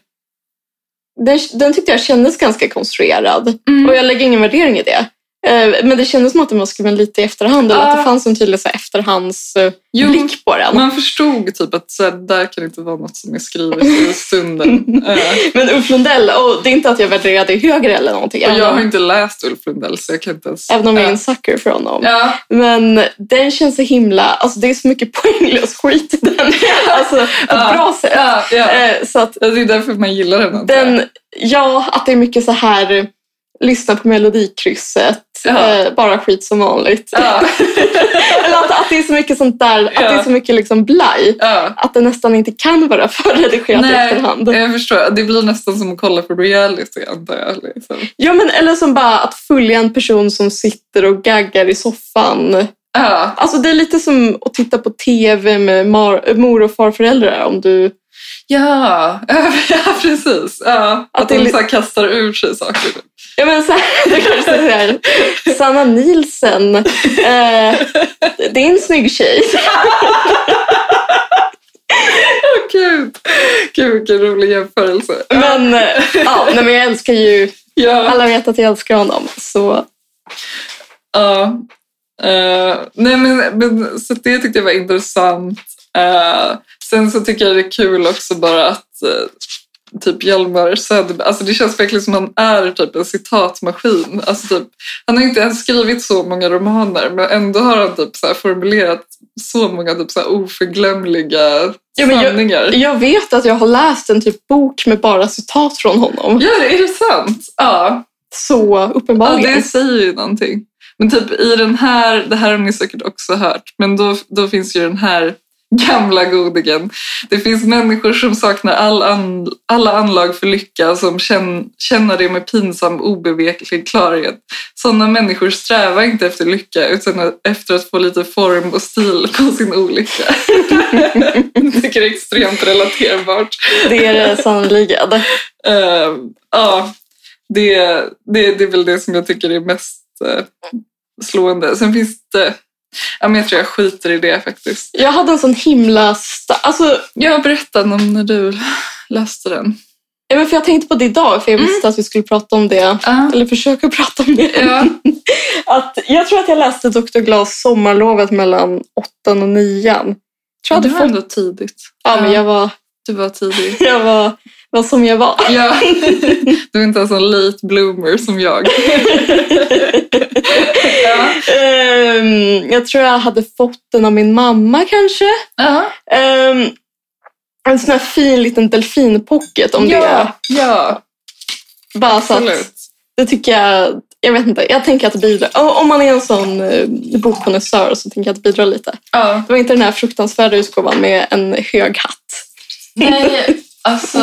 C: Den, den tyckte jag kändes ganska konstruerad.
B: Ja. Mm.
C: Och jag lägger ingen värdering i det. Eh, Men det kändes som att den var skriven lite i efterhand. Eller att det
B: Ja.
C: fanns en tydlig så här, efterhandsblick
B: Jo,
C: på den.
B: man förstod typ att så här, där kan det inte vara något som är skrivet i stunden. Eh,
C: Men Ulf Lundell, och det är inte att jag värderar det högre eller någonting.
B: och
C: även
B: jag
C: om-
B: har inte läst Ulf Lundell så jag kan inte ens...
C: Även om jag är
B: Ja.
C: en sucker för honom.
B: Ja,
C: Men den känns så himla... Alltså det är så mycket poänglös skit i den. Alltså på ett
B: Ja.
C: bra sätt.
B: ja, ja.
C: Eh, Så att
B: Det är därför man gillar den. antar jag.
C: den... Ja, att det är mycket så här... eh, Lyssna på melodikrysset.
B: Ja.
C: Eh, bara skit som vanligt.
B: Ja,
C: Eller att, att det är så mycket sånt där. Att
B: Ja.
C: det är så mycket liksom blaj.
B: ja.
C: Att det nästan inte kan vara för redigerat i
B: Nej,
C: efterhand.
B: jag förstår. Det blir nästan som att kolla på reality antar jag. Liksom.
C: Ja, men eller som bara att följa en person som sitter och gaggar i soffan.
B: Ja.
C: Alltså det är lite som att titta på tv med mar- mor och farföräldrar om du...
B: Ja. ja, precis. Ja. Att,
C: Att det är
B: de
C: li-
B: så här kastar ur sig saker.
C: Ja men så här, det kanske så här. Sanna Nielsen. Eh, det är en snygg tjej.
B: Åh, Gud. Gud, vilken rolig jämförelse. Ja.
C: Men, eh, ja, nej, men jag älskar ju...
B: ja.
C: Alla vet att jag älskar honom. Så
B: Ja. Eh, nej men, men, så det tyckte jag var intressant. Eh, sen så tycker jag det är kul också bara att eh, typ Hjalmar Söderberg, alltså det känns verkligen som han är typ en citatmaskin. Alltså typ, han har inte ens skrivit så många romaner men ändå har han typ så här formulerat så många typ så här oförglömliga
C: Ja, men jag-
B: sanningar.
C: jag vet att jag har läst en typ bok med bara citat från honom.
B: Ja, det är det sant? Ja.
C: Så
B: Ja,
C: uppenbarligen.
B: det säger ju någonting. Men typ i den här, det här har ni säkert också hört, men då, då finns ju den här gamla godingen. Det finns människor som saknar all an, alla anlag för lycka som känn, känner det med pinsam obeveklig klarhet. Sådana människor strävar inte efter lycka utan efter att få lite form och stil på sin olycka. Jag tycker det är extremt relaterbart.
C: Det är det sannerligen.
B: Eh, ja, det, det, det är väl det som jag tycker är mest eh, slående. Sen finns det... Ja, men jag tror jag skiter i det faktiskt.
C: Jag hade en sån himla... Sta- alltså,
B: Jag berättade om när du läste den.
C: ja, men för jag tänkte på det idag, för jag
B: Mm.
C: visste att vi skulle prata om det.
B: Ja,
C: Eller försöka prata om det.
B: ja,
C: Att, jag tror att jag läste Dr. Glas sommarlovet mellan åttan och nian. Jag tror jag
B: du
C: hade
B: var
C: fått...
B: ändå tidigt.
C: Ja, men jag var,
B: Du var tidig.
C: jag var, var som jag var.
B: Ja. Du är inte en sån late bloomer som jag. Ja.
C: Ehm, jag tror jag hade fått den av min mamma kanske.
B: Ja.
C: Ehm, en sån här fin liten delfinpocket om
B: ja. ja.
C: det. Bara så att,
B: Absolut.
C: det tycker jag... Jag vet inte, jag tänker att det bidrar. Om om man är en sån eh, bokkonnässör så tänker jag att det bidrar lite.
B: Ja.
C: Det var inte den här fruktansvärda utgåvan med en hög hatt.
B: Nej, alltså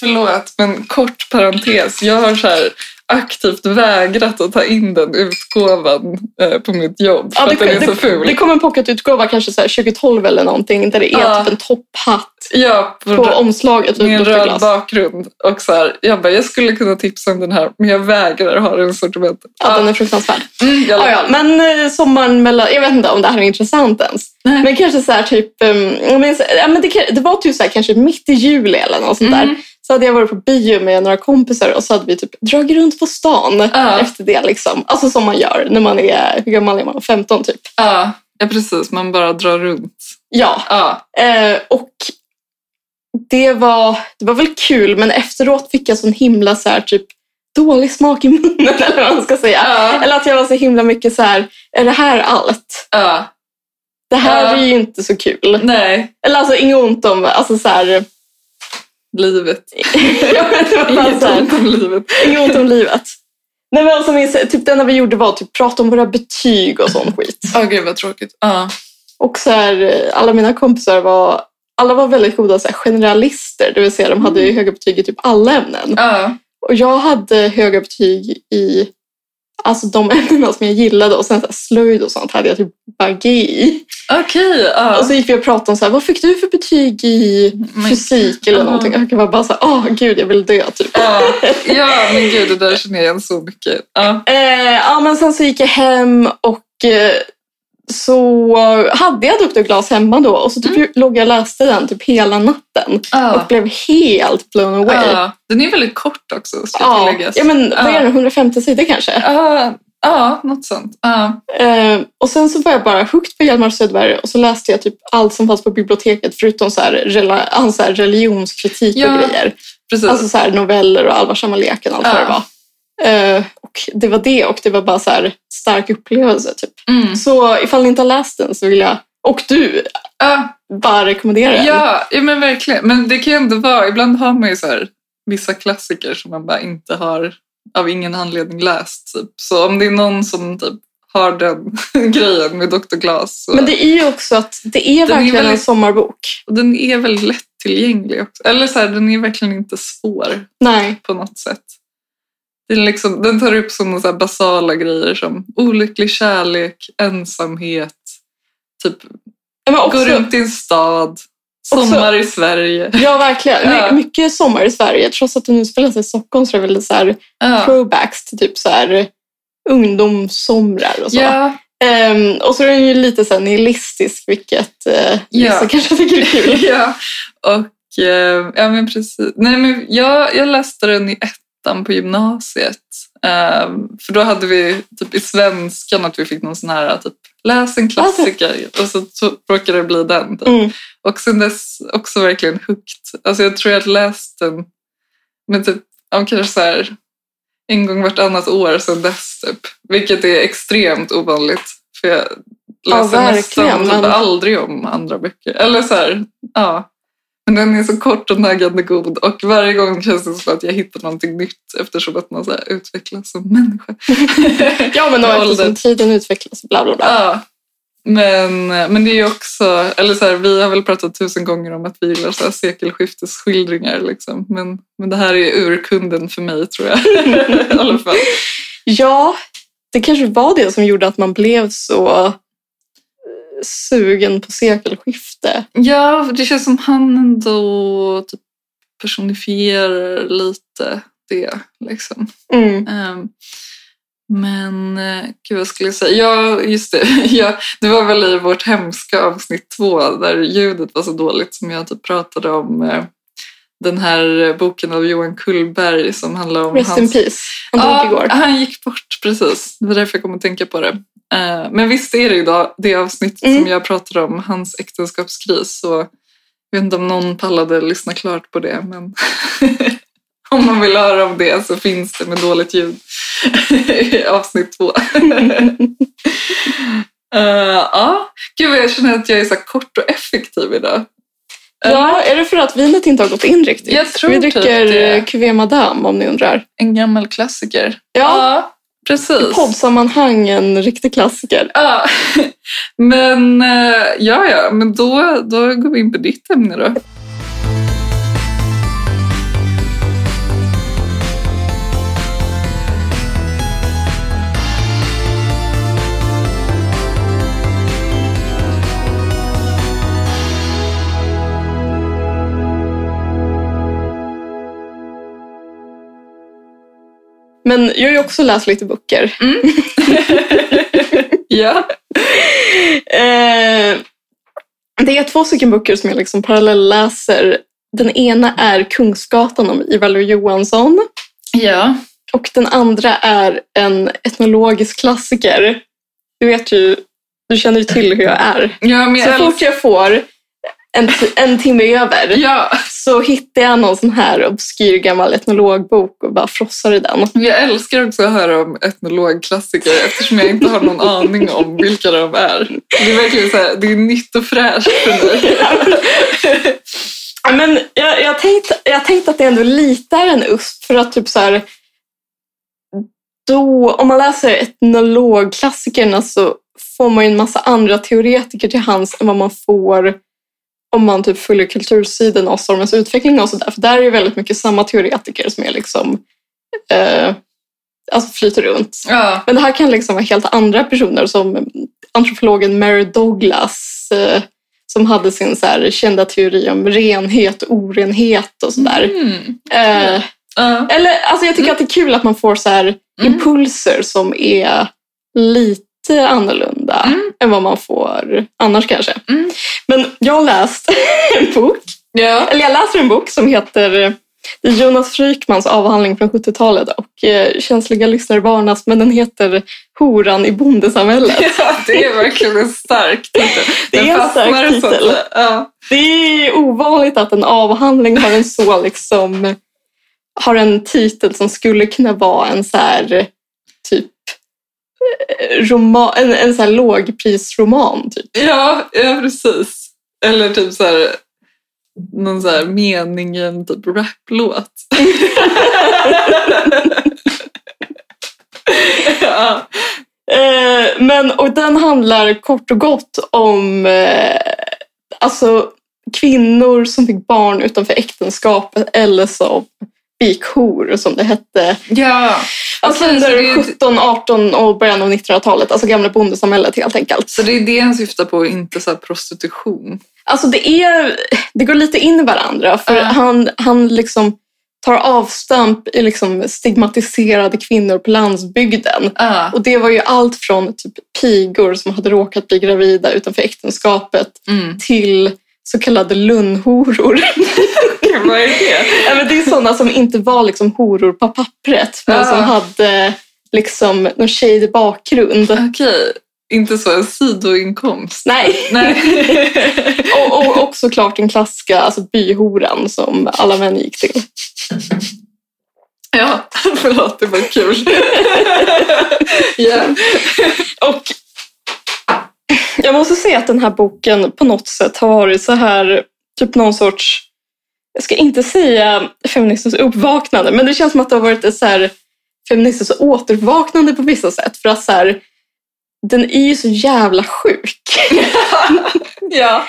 B: förlåt, men kort parentes. Jag har så här aktivt vägrat att ta in den utgåvan eh, på mitt jobb för
C: Ja,
B: att den är
C: det,
B: så ful.
C: det kom en pocketutgåva kanske så här 2012 eller någonting där det är
B: Ja.
C: typ en topphatt
B: ja, på
C: på omslaget.
B: med en
C: utan
B: röd
C: glas.
B: bakgrund. Och så här, jag bara, jag skulle kunna tipsa om den här, men jag vägrar ha den i sortimentet.
C: Ja, den är fruktansvärd.
B: Mm, jag-
C: Ja, ja, men eh, sommaren mellan... Jag vet inte om det här är intressant ens.
B: Nej.
C: Men kanske så här typ... ehm, ja, Men, så- ja, men det, kan- det var typ så här kanske mitt i juli eller något sånt där.
B: Mm.
C: Så hade jag varit på bio med några kompisar och så hade vi typ dragit runt på stan
B: Ja.
C: efter det. Liksom. Alltså som man gör när man är, hur gammal är man? 15 typ.
B: Ja, ja precis. Man bara drar runt.
C: Ja,
B: Ja,
C: Eh, och det var, det var väl kul, men efteråt fick jag sån himla så här, typ, dålig smak i munnen. Eller vad man ska säga.
B: Ja.
C: Eller att jag var så himla mycket så här, är det här allt?
B: ja.
C: Det här
B: Ja.
C: är ju inte så kul.
B: Nej,
C: Eller alltså inget ont om, alltså så här,
B: livet.
C: Ja, men det var bara
B: Inget
C: så här
B: ont om livet.
C: inget ont om livet. Nej, men alltså, min, typ, det enda vi gjorde var typ prata om våra betyg och sån skit.
B: Ja, gud vad tråkigt. Ja,
C: Och så här, eh, alla mina kompisar var, alla var väldigt goda så här, generalister, det vill säga de hade ju
B: Mm.
C: höga betyg i typ alla ämnen.
B: ja,
C: Och jag hade höga betyg i alltså de ämnena som jag gillade och sen så här, slöjd och sånt hade jag typ bara G i.
B: okej.
C: Och
B: ja.
C: så gick vi och pratade om så här, vad fick du för betyg i
B: Men-
C: fysik eller
B: Ja.
C: någonting. Och jag var bara så här, åh gud jag vill dö typ.
B: Ja, ja, men gud, det där känner jag igen så mycket. Ja,
C: Eh, ja, men sen så gick jag hem och eh, så hade jag Dr. Glas hemma då och så typ låg jag och läste den typ hela natten och
B: Mm. ja.
C: blev helt blown away.
B: ja. Den är väldigt kort också, ska
C: Ja,
B: tilläggas.
C: ja, men vad
B: Ja.
C: är det, 150 sidor kanske?
B: Ja, ja, något sånt. Ja,
C: Eh, och sen så var jag bara hooked på Hjalmar Söderberg och så läste jag typ allt som fanns på biblioteket förutom så här, rela- han så här religionskritik
B: Ja.
C: och grejer.
B: precis.
C: Alltså så här noveller och allvarsamma leken och allt vad
B: Ja.
C: det var. Eh, och det var det och det var bara så här stark upplevelse typ.
B: mm.
C: Så ifall ni inte har läst den så vill jag, och du,
B: ja,
C: bara rekommendera den.
B: ja, ja, men verkligen. Men det kan ju ändå vara, ibland har man ju så här, vissa klassiker som man bara inte har av ingen anledning läst. Typ. Så om det är någon som typ har den grejen med Dr. Glas. Så.
C: Men det är ju också att det är
B: Den är
C: verkligen en
B: väldigt-
C: sommarbok.
B: Och den är väldigt lättillgänglig också. Eller så här, den är verkligen inte svår.
C: Nej.
B: på något sätt. Den, liksom, den tar upp sådana så här basala grejer som olycklig kärlek, ensamhet, typ
C: Ja, Men också,
B: gå runt i en stad, sommar i Sverige.
C: Ja, verkligen.
B: Ja.
C: My- Mycket sommar i Sverige. Trots att den utspelar sig i Stockholm så är det väl så här
B: Ja.
C: throwbacks till typ så här ungdomssomrar och så.
B: Ja,
C: Ehm, och så är den ju lite så här nihilistisk, vilket eh,
B: Ja.
C: vissa kanske tycker är kul.
B: ja. Och, eh, ja, men precis. Nej, men jag, jag läste den i ettan på gymnasiet. Eh, för då hade vi typ i svenskan att vi fick någon sån här typ läs en klassiker och så to- råkade det bli den. Typ.
C: Mm.
B: Och sen dess också verkligen hooked. Alltså jag tror jag har läst den men typ, ja, men kanske så här, en gång vartannat år sedan dess. Typ. Vilket är extremt ovanligt. För jag
C: Ja,
B: läser nästan
C: verkligen,
B: typ
C: men-
B: aldrig om andra böcker. Eller så här, ja. Men den är så kort och naggande god och varje gång känns det som att jag hittar någonting nytt eftersom att man så här utvecklas som människa.
C: Ja, men då
B: Ålder.
C: eftersom tiden utvecklas, bla bla bla.
B: Ja. Men, men det är ju också, eller så här, vi har väl pratat tusen gånger om att vi gillar så här sekelskiftesskildringar. Liksom. Men, men det här är urkunden för mig tror jag. I alla fall.
C: Ja, det kanske var det som gjorde att man blev så eh, sugen på sekelskifte.
B: Ja, det känns som han ändå typ personifierar lite det. Liksom.
C: Mm.
B: Ehm, Men eh, gud, vad skulle jag säga? Ja, just det. Ja, det var väl i vårt hemska avsnitt två där ljudet var så dåligt som jag typ pratade om eh, den här eh, boken av Johan Kullberg som handlar om
C: Rest in peace. Han dog
B: Ja,
C: igår.
B: han gick bort, precis. Det var därför jag kom att tänka på det. Eh, Men visst är det idag det avsnittet
C: Mm.
B: som jag pratade om, hans äktenskapskris. Så jag vet inte om någon pallade lyssna klart på det, men om man vill höra om det så finns det med dåligt ljud i avsnitt två. Eh, Ja, gud vad jag känner att jag är så här kort och effektiv idag.
C: Ja, är det för att vinet inte har gått in riktigt?
B: Jag tror
C: Vi
B: typ
C: dricker
B: det.
C: eh, Cuvée Madame om ni undrar.
B: En gammal klassiker.
C: Ja,
B: precis.
C: i poddsammanhang en riktig klassiker.
B: Ja, men eh, ja, ja, men då, då går vi in på ditt ämne då.
C: Men jag har ju också läst lite böcker.
B: Mm. Ja,
C: Eh, det är två stycken böcker som jag liksom parallellläser Den ena är Kungsgatan om Ivar Johansson.
B: Ja.
C: Och den andra är en etnologisk klassiker. Du vet ju, du känner ju till hur jag är.
B: ja men
C: Så
B: jag
C: fort
B: älskar...
C: jag får en, t- en timme över
B: Ja,
C: så hittar jag någon sån här obskyr gammal etnologbok och bara frossar i den.
B: men jag älskar också att höra om etnologklassiker eftersom jag inte har någon aning om vilka de är. Det är verkligen så här, det är nytt och fräscht för mig.
C: Ja, Men jag, jag, tänkte, jag tänkte att det ändå lite är en USP för att typ så här, då, om man läser etnologklassikerna så får man ju en massa andra teoretiker till hands än vad man får om man typ följer kultursidan av stormens utveckling och sådär. För där är ju väldigt mycket samma teoretiker som är liksom, eh, alltså flyter runt.
B: Ja,
C: Men det här kan liksom vara helt andra personer som antropologen Mary Douglas eh, som hade sin så här kända teori om renhet, orenhet och sådär.
B: Mm.
C: Eh,
B: Ja.
C: eller, alltså jag tycker att det är kul att man får så här
B: Mm.
C: impulser som är lite annorlunda
B: Mm.
C: än vad man får annars kanske.
B: Mm.
C: Men jag har läst en bok
B: Ja.
C: eller jag läser en bok som heter eh, det är Jonas Frykmans avhandling från 70-talet och eh, känsliga lyssnare varnas men den heter Horan i bondesamhället.
B: ja, det är verkligen en stark titel.
C: Det
B: Den
C: är en
B: fastnar
C: stark
B: så att
C: titel.
B: säga. Ja.
C: Det är ovanligt att en avhandling har en så liksom har en titel som skulle kunna vara en så här typ eh, roman, en, en så här lågprisroman. Typ.
B: Ja, ja precis. Eller typ så här, någon så här mening i en typ raplåt. ja.
C: Eh, men, och den handlar kort och gott om eh, alltså, kvinnor som fick barn utanför äktenskapet eller som begick hor som det hette.
B: ja.
C: Alltså,
B: Okej, så det
C: under
B: är-
C: 17, 18 och början av 1900-talet, alltså gamla bondesamhället helt enkelt.
B: Så det är det han syftar på, inte så här prostitution.
C: Alltså det, är, det går lite in i varandra för
B: Ja.
C: han, han liksom tar avstamp i liksom stigmatiserade kvinnor på landsbygden.
B: Ja.
C: Och det var ju allt från typ pigor som hade råkat bli gravida utanför äktenskapet
B: Mm.
C: till så kallade lunnhoror.
B: Vad är det?
C: Ja, men det är sådana som inte var liksom horor på pappret men
B: Ah.
C: som hade liksom någon tjejig bakgrund.
B: Okej, inte så en sidoinkomst.
C: Nej.
B: Nej.
C: Och, och, och såklart den klassiska alltså byhoran som alla män gick till.
B: ja, förlåt, det var kul. ja.
C: Och jag måste säga att den här boken på något sätt har varit så här, typ någon sorts, jag ska inte säga feministens uppvaknande, men det känns som att det har varit ett så här feministens återvaknande på vissa sätt. För att så här, den är ju så jävla sjuk.
B: ja.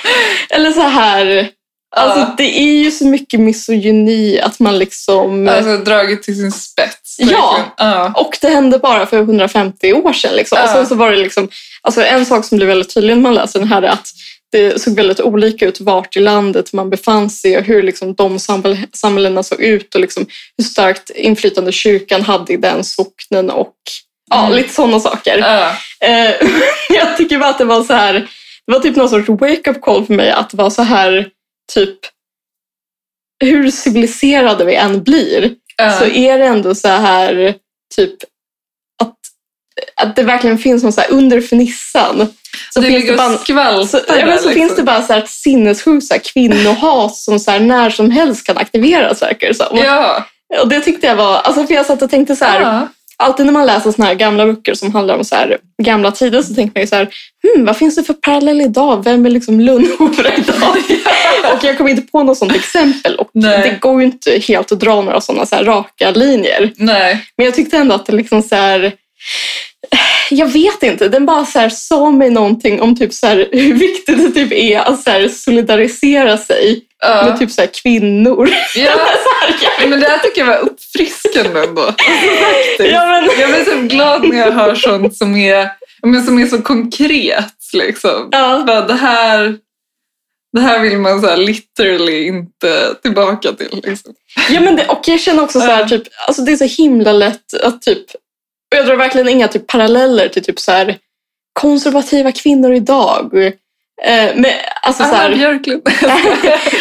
C: Eller så här, alltså
B: Ja.
C: det är ju så mycket misogyni att man liksom...
B: Alltså dragit till sin spets.
C: Ja.
B: verkligen. ja.
C: Och det hände bara för 150 år sedan. Liksom. Och
B: Ja.
C: sen så var det liksom, alltså en sak som blev väldigt tydlig när man läser den här är att det såg väldigt olika ut vart i landet man befann sig och hur liksom de samhäll- samhällena såg ut och liksom hur starkt inflytande kyrkan hade i den socknen och ja,
B: Mm.
C: lite sådana saker.
B: Ja.
C: Eh, jag tycker bara att det var så här, det var typ någon sorts wake-up call för mig att det var så här typ hur civiliserade vi än blir
B: Ja.
C: så är det ändå så här typ att, att det verkligen finns någon så här under fernissan. Så
B: det
C: finns
B: ligger
C: det bara,
B: och liksom.
C: så,
B: skvalpar
C: ja, men så finns det bara så här ett sinnessjukt så här kvinnohat som så här när som helst kan aktiveras verkar det som.
B: Ja.
C: Och det tyckte jag var, alltså för jag satt och tänkte så här,
B: ja.
C: alltid när man läser såna här gamla böcker som handlar om så här gamla tider så tänker man ju så här, hmm, vad finns det för parallell idag? Vem är liksom Lunnhora idag? och jag kom inte på något sånt exempel och
B: Nej.
C: det går ju inte helt att dra några sådana så här raka linjer.
B: Nej.
C: Men jag tyckte ändå att det liksom så här... eh, Jag vet inte, den bara så här sa mig någonting om typ så här, hur viktigt det typ är att så här solidarisera sig
B: Ja.
C: med typ så här kvinnor.
B: ja.
C: Så här, jag-
B: Men det här tycker jag var uppfriskande ändå. Alltså, faktiskt.
C: ja, men,
B: Jag blir så glad när jag hör sånt som är, men som är så konkret. Liksom.
C: ja,
B: Bara, Det, här, det här vill man så här literally inte tillbaka till. Liksom.
C: ja, men det, och jag känner också så här,
B: Ja.
C: typ, alltså det är så himla lätt att typ, och jag drar verkligen inga typ paralleller till typ så här konservativa kvinnor idag Eh, men, alltså, så
B: Anna
C: här,
B: Björklund.
C: Nej,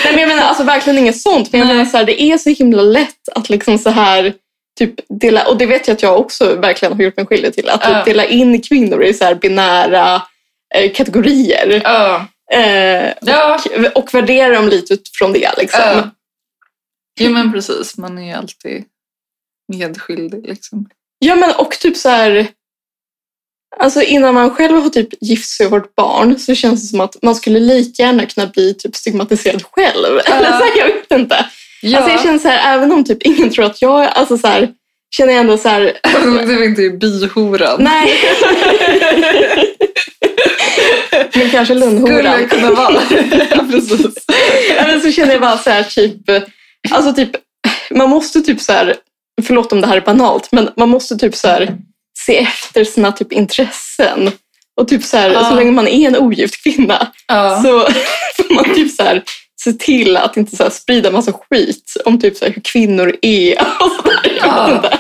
C: men jag menar alltså, verkligen inget sånt. Men jag menar, så här, det är så himla lätt att liksom så här typ dela, och det vet jag att jag också verkligen har gjort mig skyldig till, att
B: Ja.
C: typ dela in kvinnor i så här binära eh, kategorier.
B: ja.
C: Eh,
B: Ja.
C: och, och värdera dem lite utifrån det. Liksom.
B: ja. Jo men precis, man är ju alltid medskyldig liksom.
C: Ja, men och typ så här... Alltså innan man själv har typ gift sig och fått barn så känns det som att man skulle lika gärna kunna bli typ stigmatiserad själv. Eller så här, jag vet inte.
B: Ja.
C: Alltså jag känner så här, även om typ ingen tror att jag är, alltså så här, känner jag ändå så här,
B: Även om du inte är bihoran.
C: nej. men kanske
B: Skulle
C: lundhoran.
B: jag kunna vara. ja, precis.
C: Eller så känner jag bara så här typ, alltså typ, man måste typ så här, förlåt om det här är banalt, men man måste typ så här se efter sina typ intressen. Och typ så här,
B: Ja.
C: så länge man är en ogift kvinna
B: Ja.
C: så får man typ så här se till att inte så här sprida massa skit om typ så här hur kvinnor är och så där. Jag, vet inte.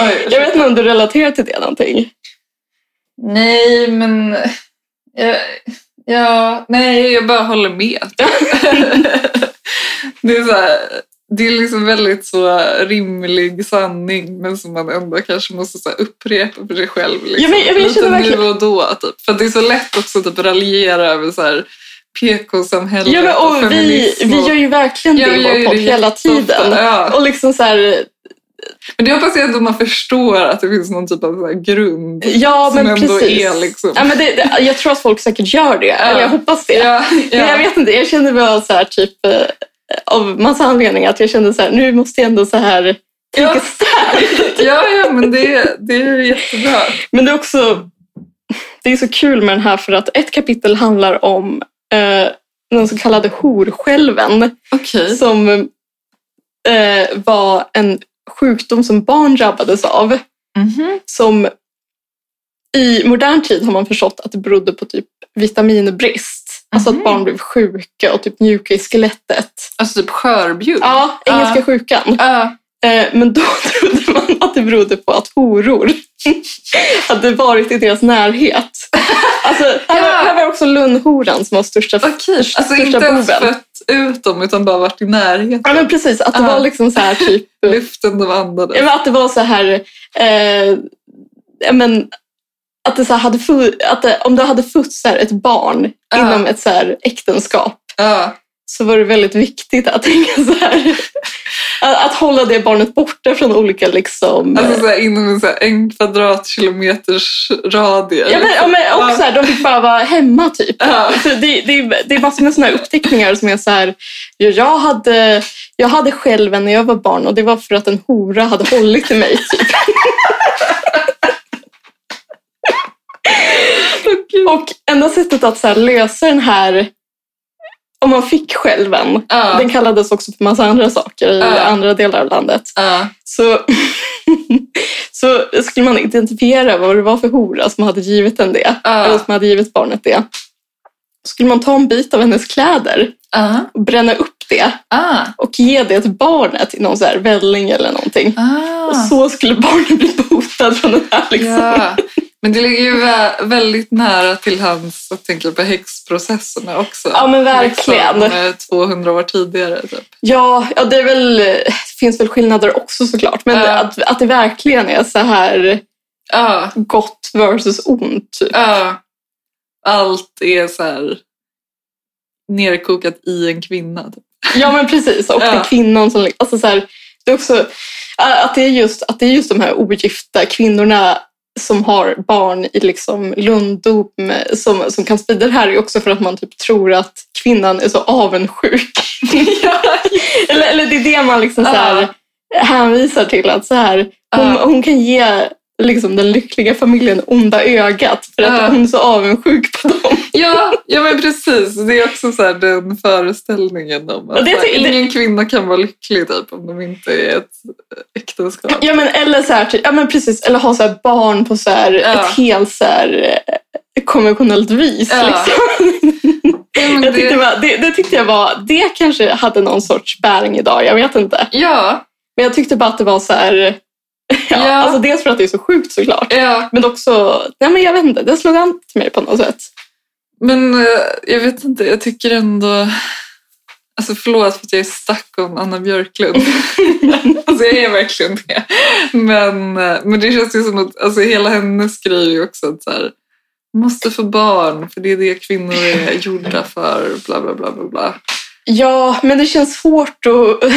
B: Oj.
C: jag vet inte om du relaterar till det någonting.
B: Nej, men... Ja, ja, nej, jag bara håller med. det, är så här, det är liksom väldigt så rimlig sanning men som man ändå kanske måste så här upprepa för sig själv. Liksom.
C: Ja, men- ja, men jag
B: Lite
C: känner verkligen-
B: nu och då. Typ. För att det är så lätt också att typ, raljera över så här, PK-samhället
C: Ja, men,
B: och
C: och vi,
B: feminism.
C: vi gör ju verkligen
B: Ja,
C: det
B: vi
C: i
B: gör ju
C: vår podd
B: det
C: hela
B: jätteofta,
C: tiden.
B: Ja.
C: Och liksom så här,
B: Men det hoppas jag ändå man förstår att det finns någon typ av så här grund.
C: Ja,
B: Som
C: men
B: ändå
C: precis.
B: är liksom-
C: ja, men det, det, jag tror att folk säkert gör det. Eller jag hoppas det.
B: Ja,
C: Men jag
B: ja.
C: vet inte, jag kände bara så här typ eh, av massa anledningar att jag kände så här, nu måste jag ändå så här tänka
B: Ja.
C: starkt.
B: ja, ja, men det, det är jättebra.
C: Men det är också, det är så kul med den här för att ett kapitel handlar om eh, den så kallade horskälven
B: Okej.
C: som eh, var en sjukdom som barn drabbades av.
B: Mhm.
C: som i modern tid har man förstått att det berodde på typ vitaminbrist. Alltså
B: Mhm.
C: att barn blev sjuka och typ mjuka i skelettet.
B: Alltså typ skörbjugg?
C: Ja, engelska
B: Ja.
C: sjukan.
B: Ja.
C: Eh, Men då trodde man att det berodde på att horor hade varit i deras närhet. Alltså, här,
B: Ja.
C: var, här var också Lundhoran som var största,
B: Okej,
C: största,
B: alltså inte
C: största
B: ens
C: boven.
B: fött ut dem utan bara varit i närheten.
C: Ja, men precis, att det
B: Ja.
C: var liksom så här typ...
B: Luften de andades.
C: Ja, men att det var så här... Eh, ja, men, att det så här hade fu- att det, om det hade funnits så här ett barn
B: Ja.
C: inom ett så här äktenskap
B: Ja.
C: så var det väldigt viktigt att tänka så här, att, att hålla det barnet borta från olika liksom...
B: Alltså så här, inom en, så här, en kvadratkilometers radie.
C: ja, men, ja, men
B: Ja.
C: också så här, de fick bara vara hemma typ.
B: Ja.
C: Så det, det, är- det är massor med såna här uppteckningar som är så här, ja, jag hade, jag hade själv en när jag var barn och det var för att en hora hade hållit i mig. Typ. och enda sättet att så här, lösa den här, om man fick själven,
B: Ja.
C: den kallades också för massa andra saker i
B: Ja.
C: andra delar av landet,
B: Ja.
C: så, så skulle man identifiera vad det var för hora som hade givit den det.
B: Ja.
C: Eller som hade givit barnet det. Så skulle man ta en bit av hennes kläder
B: Ja.
C: och bränna upp det
B: Ah.
C: och ge det till barnet i någon så här välling eller någonting. Och
B: Ah.
C: så skulle barnet bli botad från den här. Liksom.
B: Ja. Men det ligger ju vä- väldigt nära till hans, jag tänker på häxprocesserna också.
C: Ja, men verkligen.
B: Liksom, eh, 200 år tidigare typ.
C: Ja, ja det, är väl, det finns väl skillnader också såklart. Men
B: Ja.
C: att, att det verkligen är så här
B: Ja.
C: gott versus ont. Typ.
B: Ja. Allt är så här nerkokat i en kvinna. typ.
C: Ja men precis, och
B: Ja.
C: det är kvinnan som... Alltså så här, det är också, äh, att, det är just, att det är just de här ogifta kvinnorna som har barn i liksom lönndom som, som kan sprida det här är också för att man typ tror att kvinnan är så avundsjuk. eller, eller det är det man liksom så här, hänvisar till. att så här, hon,
B: Ja.
C: hon kan ge liksom den lyckliga familjen onda ögat för att
B: Ja.
C: hon är så avundsjuk på dem.
B: Ja, ja men precis. Det är också så här den föreställningen om att
C: Och det
B: så här,
C: ty- det-
B: ingen kvinna kan vara lycklig typ, om de inte är ett äktenskap.
C: Ja men eller så här, typ- ja men precis, eller ha så här barn på så här
B: Ja.
C: ett helt så här eh, konventionellt vis.
B: Ja,
C: Liksom.
B: Ja, men
C: Jag tyckte
B: det,
C: bara, det, det tyckte jag var, det kanske hade någon sorts bäring idag, jag vet inte.
B: ja,
C: Men jag tyckte bara att det var så här, ja,
B: Ja.
C: alltså dels för att det är så sjukt såklart.
B: ja,
C: Men också, nej men jag vet inte, det slog an till mig på något sätt.
B: Men eh, jag vet inte, jag tycker ändå... Alltså förlåt för att jag är stuck om Anna Björklund. alltså jag är verkligen det. Men, eh, men det känns ju som att alltså, hela hennes grej är ju också att så här, måste få barn för det är det kvinnor är gjorda för. Bla bla bla bla bla.
C: Ja, men det känns svårt att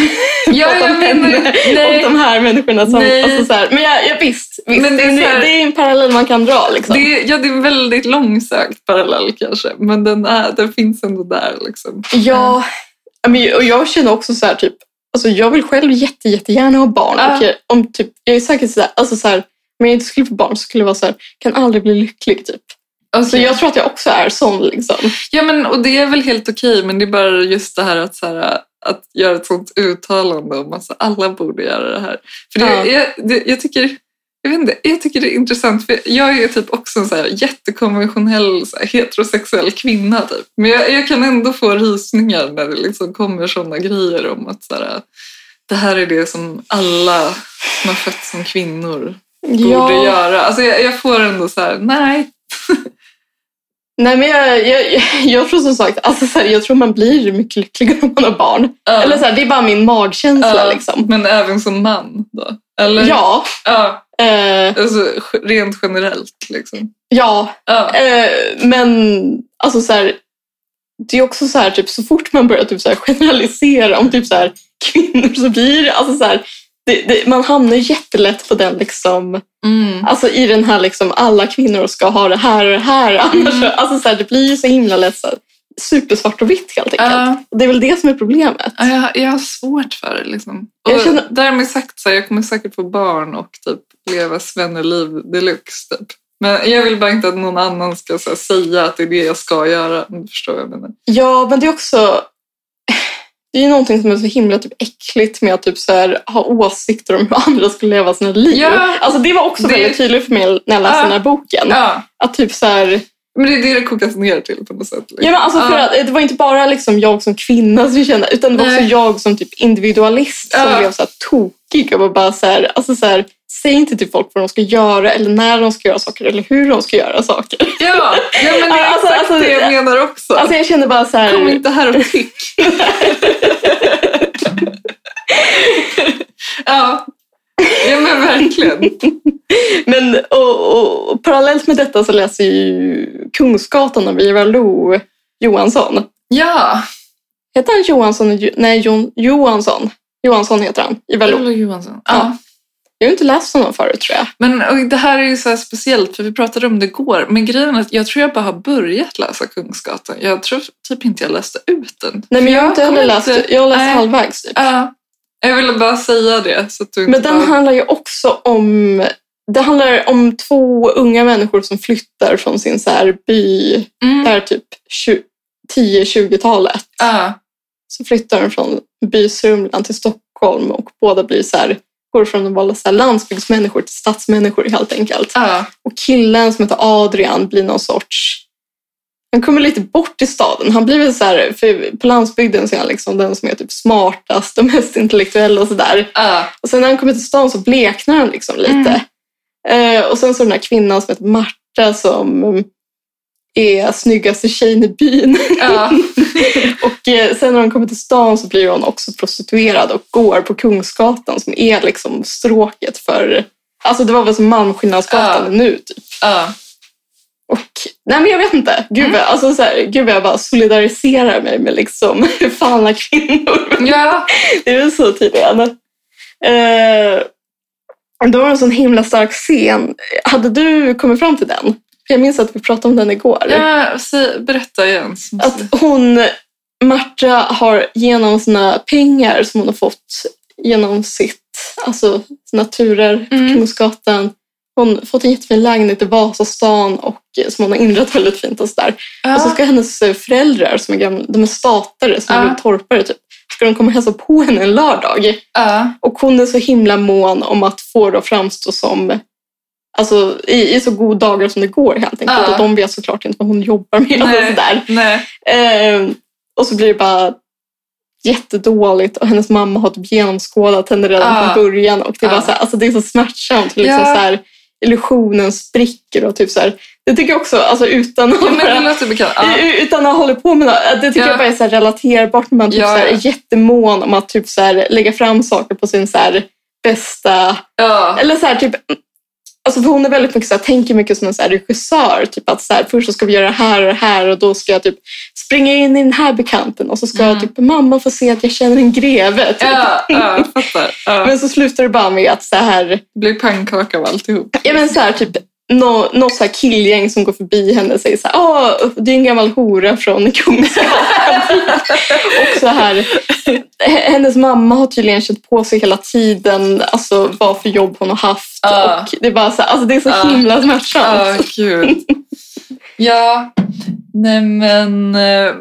B: Ja,
C: prata om
B: jag menar-
C: henne
B: nej.
C: och de här människorna. Som,
B: Nej.
C: alltså så här, men jag, jag, visst, visst
B: Men
C: det, är
B: det är så här-
C: det är en parallell man kan dra. Liksom.
B: Det är, ja, det är en väldigt långsökt parallell kanske, men den, är, den finns ändå där. Liksom.
C: Ja, men, och jag känner också så här typ, alltså jag vill själv jätte, jättegärna ha barn.
B: Ja.
C: Och jag, om typ, jag är säkert så här, alltså så här, men jag inte skulle få barn så skulle jag vara så här, kan aldrig bli lycklig typ. Så
B: Okej.
C: jag tror att jag också är sån liksom.
B: Ja, men, och det är väl helt okej, men det är bara just det här att, så här, att göra ett sånt uttalande om att så alla borde göra det här. För det,
C: Ja.
B: jag, det, jag, tycker, jag, vet inte, jag tycker det är intressant, för jag är typ också en så här jättekonventionell så här, heterosexuell kvinna. Typ. Men jag, jag kan ändå få rysningar när det liksom kommer såna grejer om att så här, det här är det som alla som har fötts som kvinnor borde
C: ja,
B: göra. Alltså, jag, jag får ändå så här, nej.
C: nej men jag, jag, jag tror som sagt, alltså så här, jag tror man blir mycket lyckligare om man har barn. Eller så här, det är bara min magkänsla
B: Ja,
C: liksom.
B: Men även som man då? Eller?
C: Ja,
B: Ja,
C: eh,
B: alltså, ge- rent generellt liksom.
C: ja,
B: Ja.
C: Eh, men alltså så här, det är också så här, typ, så fort man börjar typ, så här, generalisera om typ, så här, kvinnor så blir det, alltså, så här, det, det, man hamnar jättelätt på den liksom, alltså i den här liksom, alla kvinnor ska ha det här och det här. Annars, så- alltså, så här, det blir ju så himla lätt så här, supersvart och vitt helt enkelt.
B: Ja,
C: Och Det är väl det som är problemet.
B: ja, jag, jag har svårt för det liksom. Och
C: Jag känner-
B: därmed sagt så här, jag kommer säkert få barn och typ leva svenneliv deluxe typ. Men jag vill bara inte att någon annan ska så här, säga att det är det jag ska göra. Om du förstår vad jag menar.
C: Ja, men det är också... Det är ju någonting som är så himla typ, äckligt med att typ, så här, ha åsikter om hur andra skulle leva sina liv.
B: Ja.
C: alltså, det var också
B: Det-
C: väldigt tydligt för mig när jag läste
B: Ja.
C: den här boken.
B: Ja,
C: Att typ så här,
B: men det är det det kokas ner till på något sätt. liksom.
C: ja, men alltså, för
B: Ja.
C: att, det var inte bara liksom jag som kvinna som kände, utan det var
B: Nej.
C: också jag som typ individualist som
B: Ja.
C: blev så här, tokig. Jag var bara så här, alltså, så här, säg inte till folk vad de ska göra eller när de ska göra saker eller hur de ska göra saker.
B: Ja, ja, men det är
C: Alltså,
B: exakt
C: alltså,
B: det jag menar också.
C: Alltså, jag kände bara så här...
B: Kom inte här och tyck. ja. ja, men verkligen.
C: Men och, och, och parallellt med detta så läser jag ju Kungsgatan av Ivar Lo Johansson.
B: Ja,
C: Heter han Johansson? Jo- Nej, Jon, Johansson. Johansson heter han. Ivar Lo.
B: Olle Johansson.
C: Ja.
B: Ja.
C: Jag har inte läst honom förut tror jag.
B: Men och det här är ju så här speciellt, för vi pratade om det igår. Men grejen är att jag tror jag bara har börjat läsa Kungsgatan. Jag tror typ inte jag läste ut den.
C: Nej, men jag har
B: Jag
C: inte heller
B: kommer
C: läst.
B: inte-
C: Jag har läst
B: nej.
C: halvvägs typ.
B: Ja. Jag ville bara säga det. Så att du
C: Men
B: inte
C: den
B: bara...
C: handlar ju också om... Det handlar om två unga människor som flyttar från sin så här by,
B: Mm.
C: där typ 20 10-20-talet.
B: Ja.
C: så flyttar de från Bysumlan till Stockholm och båda blir så här, går från att vara så här landsbygdsmänniskor till stadsmänniskor helt enkelt.
B: Ja.
C: Och killen som heter Adrian blir någon sorts... Han kommer lite bort i staden. Han blir väl så här, för på landsbygden så är han liksom den som är typ smartast och mest intellektuell och sådär.
B: Ja.
C: Och sen när han kommer till stan så bleknar han liksom lite. Eh, och sen så den här kvinnan som heter Marta som mm, är snyggaste tjejen i byn.
B: Ja.
C: Och eh, sen när hon kommer till stan så blir hon också prostituerad och går på Kungsgatan som är liksom stråket för... Alltså det var väl som Malmskillnadsgatan
B: Ja.
C: nu typ.
B: Ja.
C: Och, nej men jag vet inte. Gud,
B: Mm.
C: vad- alltså, så här, gud vad jag bara solidariserar mig med liksom fallna kvinnor.
B: ja.
C: Det är väl så tydligen. Eh, det var en sån himla stark scen. Hade du kommit fram till den? För Jag minns att vi pratade om den igår.
B: ja. säg- Berätta igen.
C: att hon, Marta, har genom sina pengar som hon har fått genom sitt, alltså sina turer på
B: Mm.
C: Kungsgatan, hon har fått en jättefin lägenhet i Vasastan och eh, som hon har inrett väldigt fint och sådär. Och så
B: Ja.
C: ska hennes eh, föräldrar, som är gamla, de är statare, som
B: Ja.
C: är torpare typ, ska de komma och hälsa på henne en lördag.
B: Ja.
C: Och hon är så himla mån om att få det att framstå som Alltså i, i så god dagar som det går helt enkelt.
B: Ja.
C: Och de vet såklart inte vad hon jobbar med. Och
B: Nej.
C: sådär.
B: Nej.
C: Eh, och så blir det bara jättedåligt och hennes mamma har typ genomskådat henne redan
B: Ah.
C: från början. Och det, är bara
B: Ah.
C: så här, alltså det är så smärtsamt hur liksom
B: Ja.
C: så här, illusionen spricker och typ så här, Det tycker jag också, alltså utan att
B: Ja, men det
C: vara-
B: låter bekant. Ja.
C: Utan att hålla på med något. Det tycker
B: Ja.
C: jag bara är så här relaterbart när man typ
B: Ja,
C: så här
B: ja.
C: är jättemån om att typ så här lägga fram saker på sin så här bästa...
B: Ja.
C: Eller så här typ... Alltså för hon är väldigt mycket så här, tänker mycket som en så här regissör. Typ att så här, först så ska vi göra det här och det här och då ska jag typ springa in i den här bekanten och så ska
B: Mm.
C: typ mamma få se att jag känner en greve. Typ.
B: Ja, ja, jag fattar. Ja.
C: Men så slutar det bara med att så här,
B: Det blir pannkaka av alltihop.
C: ja, men så här typ nå- något så här killgäng som går förbi henne och säger så här, Åh, du är en gammal hora från Kungsgatan. och så här, h- hennes mamma har tydligen känt på sig hela tiden alltså, vad för jobb hon har haft.
B: Ja.
C: Och det, är bara så här, alltså, det är så
B: Ja.
C: himla smärtsamt.
B: Ja, gud. Ja, nej men... eh,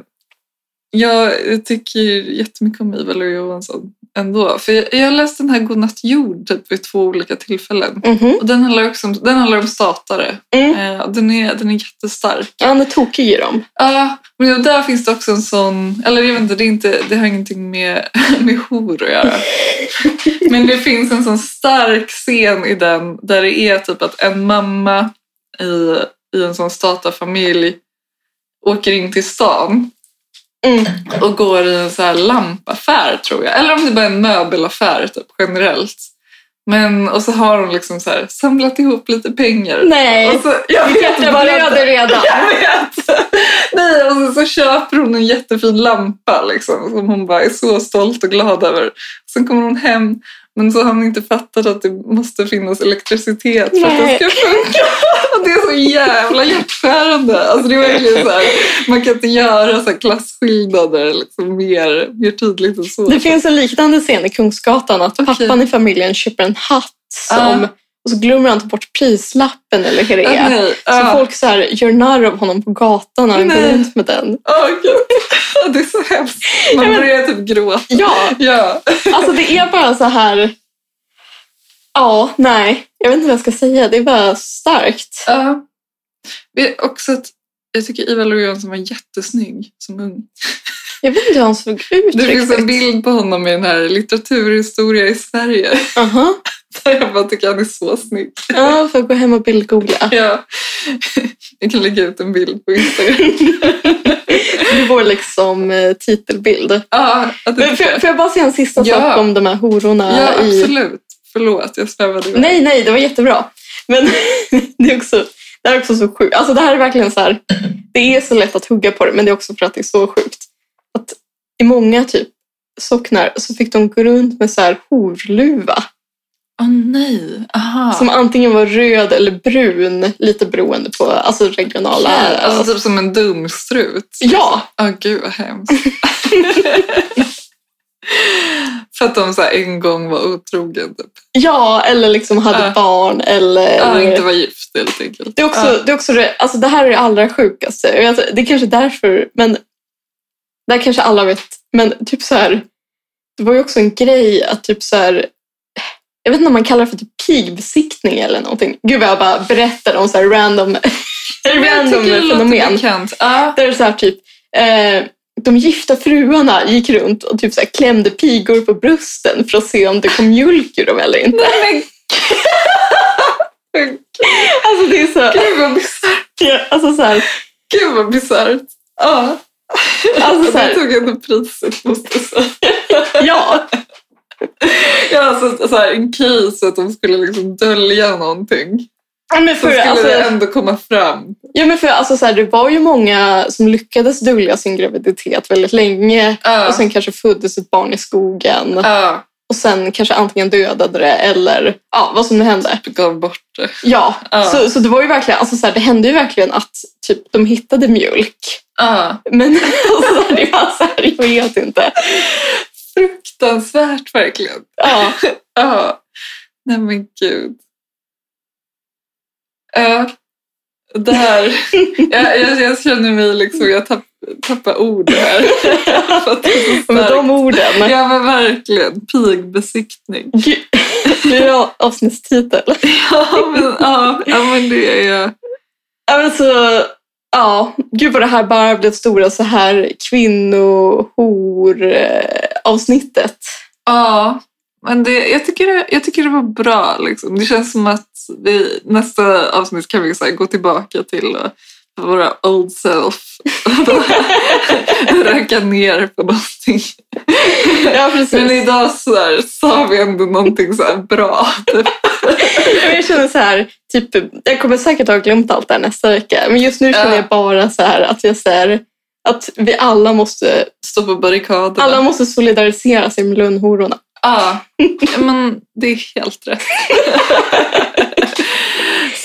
B: Jag jag tycker jättemycket om Ivar Lo-Johansson ändå. För jag, jag har läst den här Godnatt jord typ, vid två olika tillfällen.
C: Mhm.
B: Och den handlar också om, den handlar om statare.
C: Mm.
B: Eh, och den, är, den är jättestark.
C: Ja, Han är tokig i dem.
B: Ja, men där finns det också en sån... Eller jag vet inte, det, är inte, det har ingenting med, med hor att göra. Men det finns en sån stark scen i den där det är typ att en mamma i, i en sån statarfamilj åker in till stan
C: Mm.
B: och går i en så här lampaffär tror jag. Eller om det bara är en möbelaffär typ, generellt. Men, och så har hon liksom så här, samlat ihop lite pengar.
C: Nej,
B: Och så, jag
C: mitt
B: vet,
C: hjärta
B: jag vet.
C: blöder redan.
B: Jag vet! Nej, och så, så köper hon en jättefin lampa liksom, som hon bara är så stolt och glad över. Sen kommer hon hem, men så har hon inte fattat att det måste finnas elektricitet för att
C: Nej.
B: det ska funka. Och det är så jävla hjärtskärande. Alltså, det är verkligen så här, man kan inte göra så här klasskillnader liksom, mer, mer tydligt än så.
C: Det finns en liknande scen i Kungsgatan att
B: Okej.
C: pappan i familjen köper en hatt som,
B: Ja.
C: och så glömmer han ta bort prislappen eller hur det
B: Ah,
C: är.
B: nej.
C: Så
B: Ah.
C: folk så här gör narr av honom på gatan när han går
B: Nej.
C: runt med den.
B: Ah, gud. Det är så hemskt. Man börjar typ gråta.
C: Ja,
B: Ja.
C: alltså det är bara så här... Ja, nej. Jag vet inte vad jag ska säga. Det är bara starkt.
B: Ja. Vi också att jag tycker Ivar Lo-Johansson var jättesnygg som ung.
C: Jag vet inte hur han såg ut
B: Det finns
C: riktigt.
B: en bild på honom i den här litteraturhistoria i Sverige
C: Aha.
B: där jag bara tycker han är så snygg.
C: Ja, får jag gå hem och bildgoogla.
B: Ja. Jag kan lägga ut en bild på Instagram.
C: Det är vår liksom eh, titelbild.
B: Ja, att
C: Men
B: det,
C: får, får jag bara säga en sista
B: Ja.
C: sak om de här hororna
B: ja
C: i
B: absolut. Förlåt, jag svävade iväg.
C: Nej, nej, det var jättebra. Men det är också, det här är också så sjukt. Alltså det här är verkligen så här, det är så lätt att hugga på det, men det är också för att det är så sjukt. Att i många typ socknar så fick de gå runt med så här horluva
B: Åh nej. Aha.
C: som antingen var röd eller brun, lite beroende på alltså regionala...
B: Ja, alltså typ som en dumstrut.
C: ja,
B: Åh gud vad hemskt. För att de så här en gång var otrogen. Typ.
C: ja, eller liksom hade
B: Ja.
C: barn eller...
B: Ja, inte var gift helt enkelt.
C: Det är också, det, är också det, alltså det här är det allra sjukaste. Jag vet, det är kanske är därför, men det här kanske alla vet. Men typ så här, det var ju också en grej att typ så här, jag vet inte om man kallar det för typ pigbesiktning eller någonting. Gud vad jag bara berättar om så här random, random fenomen.
B: Bekant. Ja.
C: Där det är så här typ, eh, de gifta fruarna gick runt och typ så här klämde pigor på brösten för att se om det kom mjölk ur dem eller inte.
B: Nej, men
C: Alltså det är så,
B: gud vad bisarrt.
C: alltså så här,
B: Gud vad bisarrt. Ja.
C: alltså så
B: Det
C: här,
B: tog ändå priset måste jag säga.
C: ja.
B: Ja, alltså, så, så här, en case att de skulle liksom dölja någonting.
C: Ja, men
B: Så
C: för,
B: skulle
C: alltså,
B: det ändå komma fram.
C: ja, men för, alltså, så här, det var ju många som lyckades dölja sin graviditet väldigt länge.
B: Ja.
C: Och sen kanske föddes ett barn i skogen.
B: Ja,
C: Och sen kanske antingen dödade det eller ja, vad som nu hände.
B: gav bort det.
C: Ja,
B: Ja.
C: så, så det var ju verkligen, alltså, så här, det hände ju verkligen att typ, de hittade mjölk.
B: Ja.
C: Men alltså, det var så här, jag vet inte.
B: Fruktansvärt verkligen.
C: Ja,
B: Ja. Nej men gud. Ja. Det här. Jag, jag, jag känner mig liksom, jag tapp, tappar ord här. För att det är så
C: med de
B: starkt.
C: orden.
B: Ja men verkligen. Pigbesiktning.
C: Gud, blir det avsnittstitel?
B: Ja men, ja, ja, men det är...
C: Ja, men så, ja, gud vad det här bara blev stora så här kvinnohor-avsnittet.
B: Ja. Men det, jag, tycker det, jag tycker det var bra liksom. Det känns som att vi, nästa avsnitt kan vi så här, gå tillbaka till eh, våra old self. Röka ner på någonting.
C: Ja, precis.
B: Men idag så här, sa vi ändå någonting så här bra. Typ.
C: Men Jag känner så här, typ, jag kommer säkert ha glömt allt det här nästa vecka. Men just nu känner
B: Ja.
C: jag bara så här att jag säger att vi alla måste,
B: Stå på barrikaderna.
C: alla måste solidarisera sig med lönnhororna.
B: Ja, men det är helt rätt.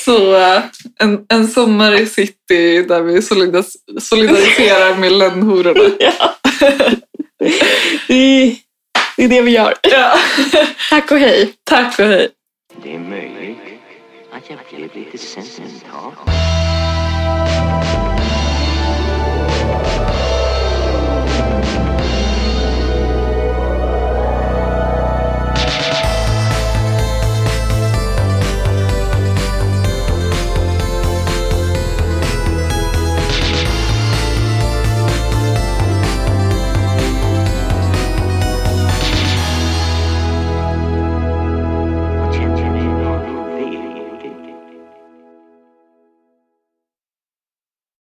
B: Så eh, en, en sommar i city där vi solidas- solidariserar med lönnhororna.
C: Det är, det är det vi gör.
B: Ja.
C: Tack och hej.
B: Tack och hej.
A: Det är möjligt att jag blev lite sentimental.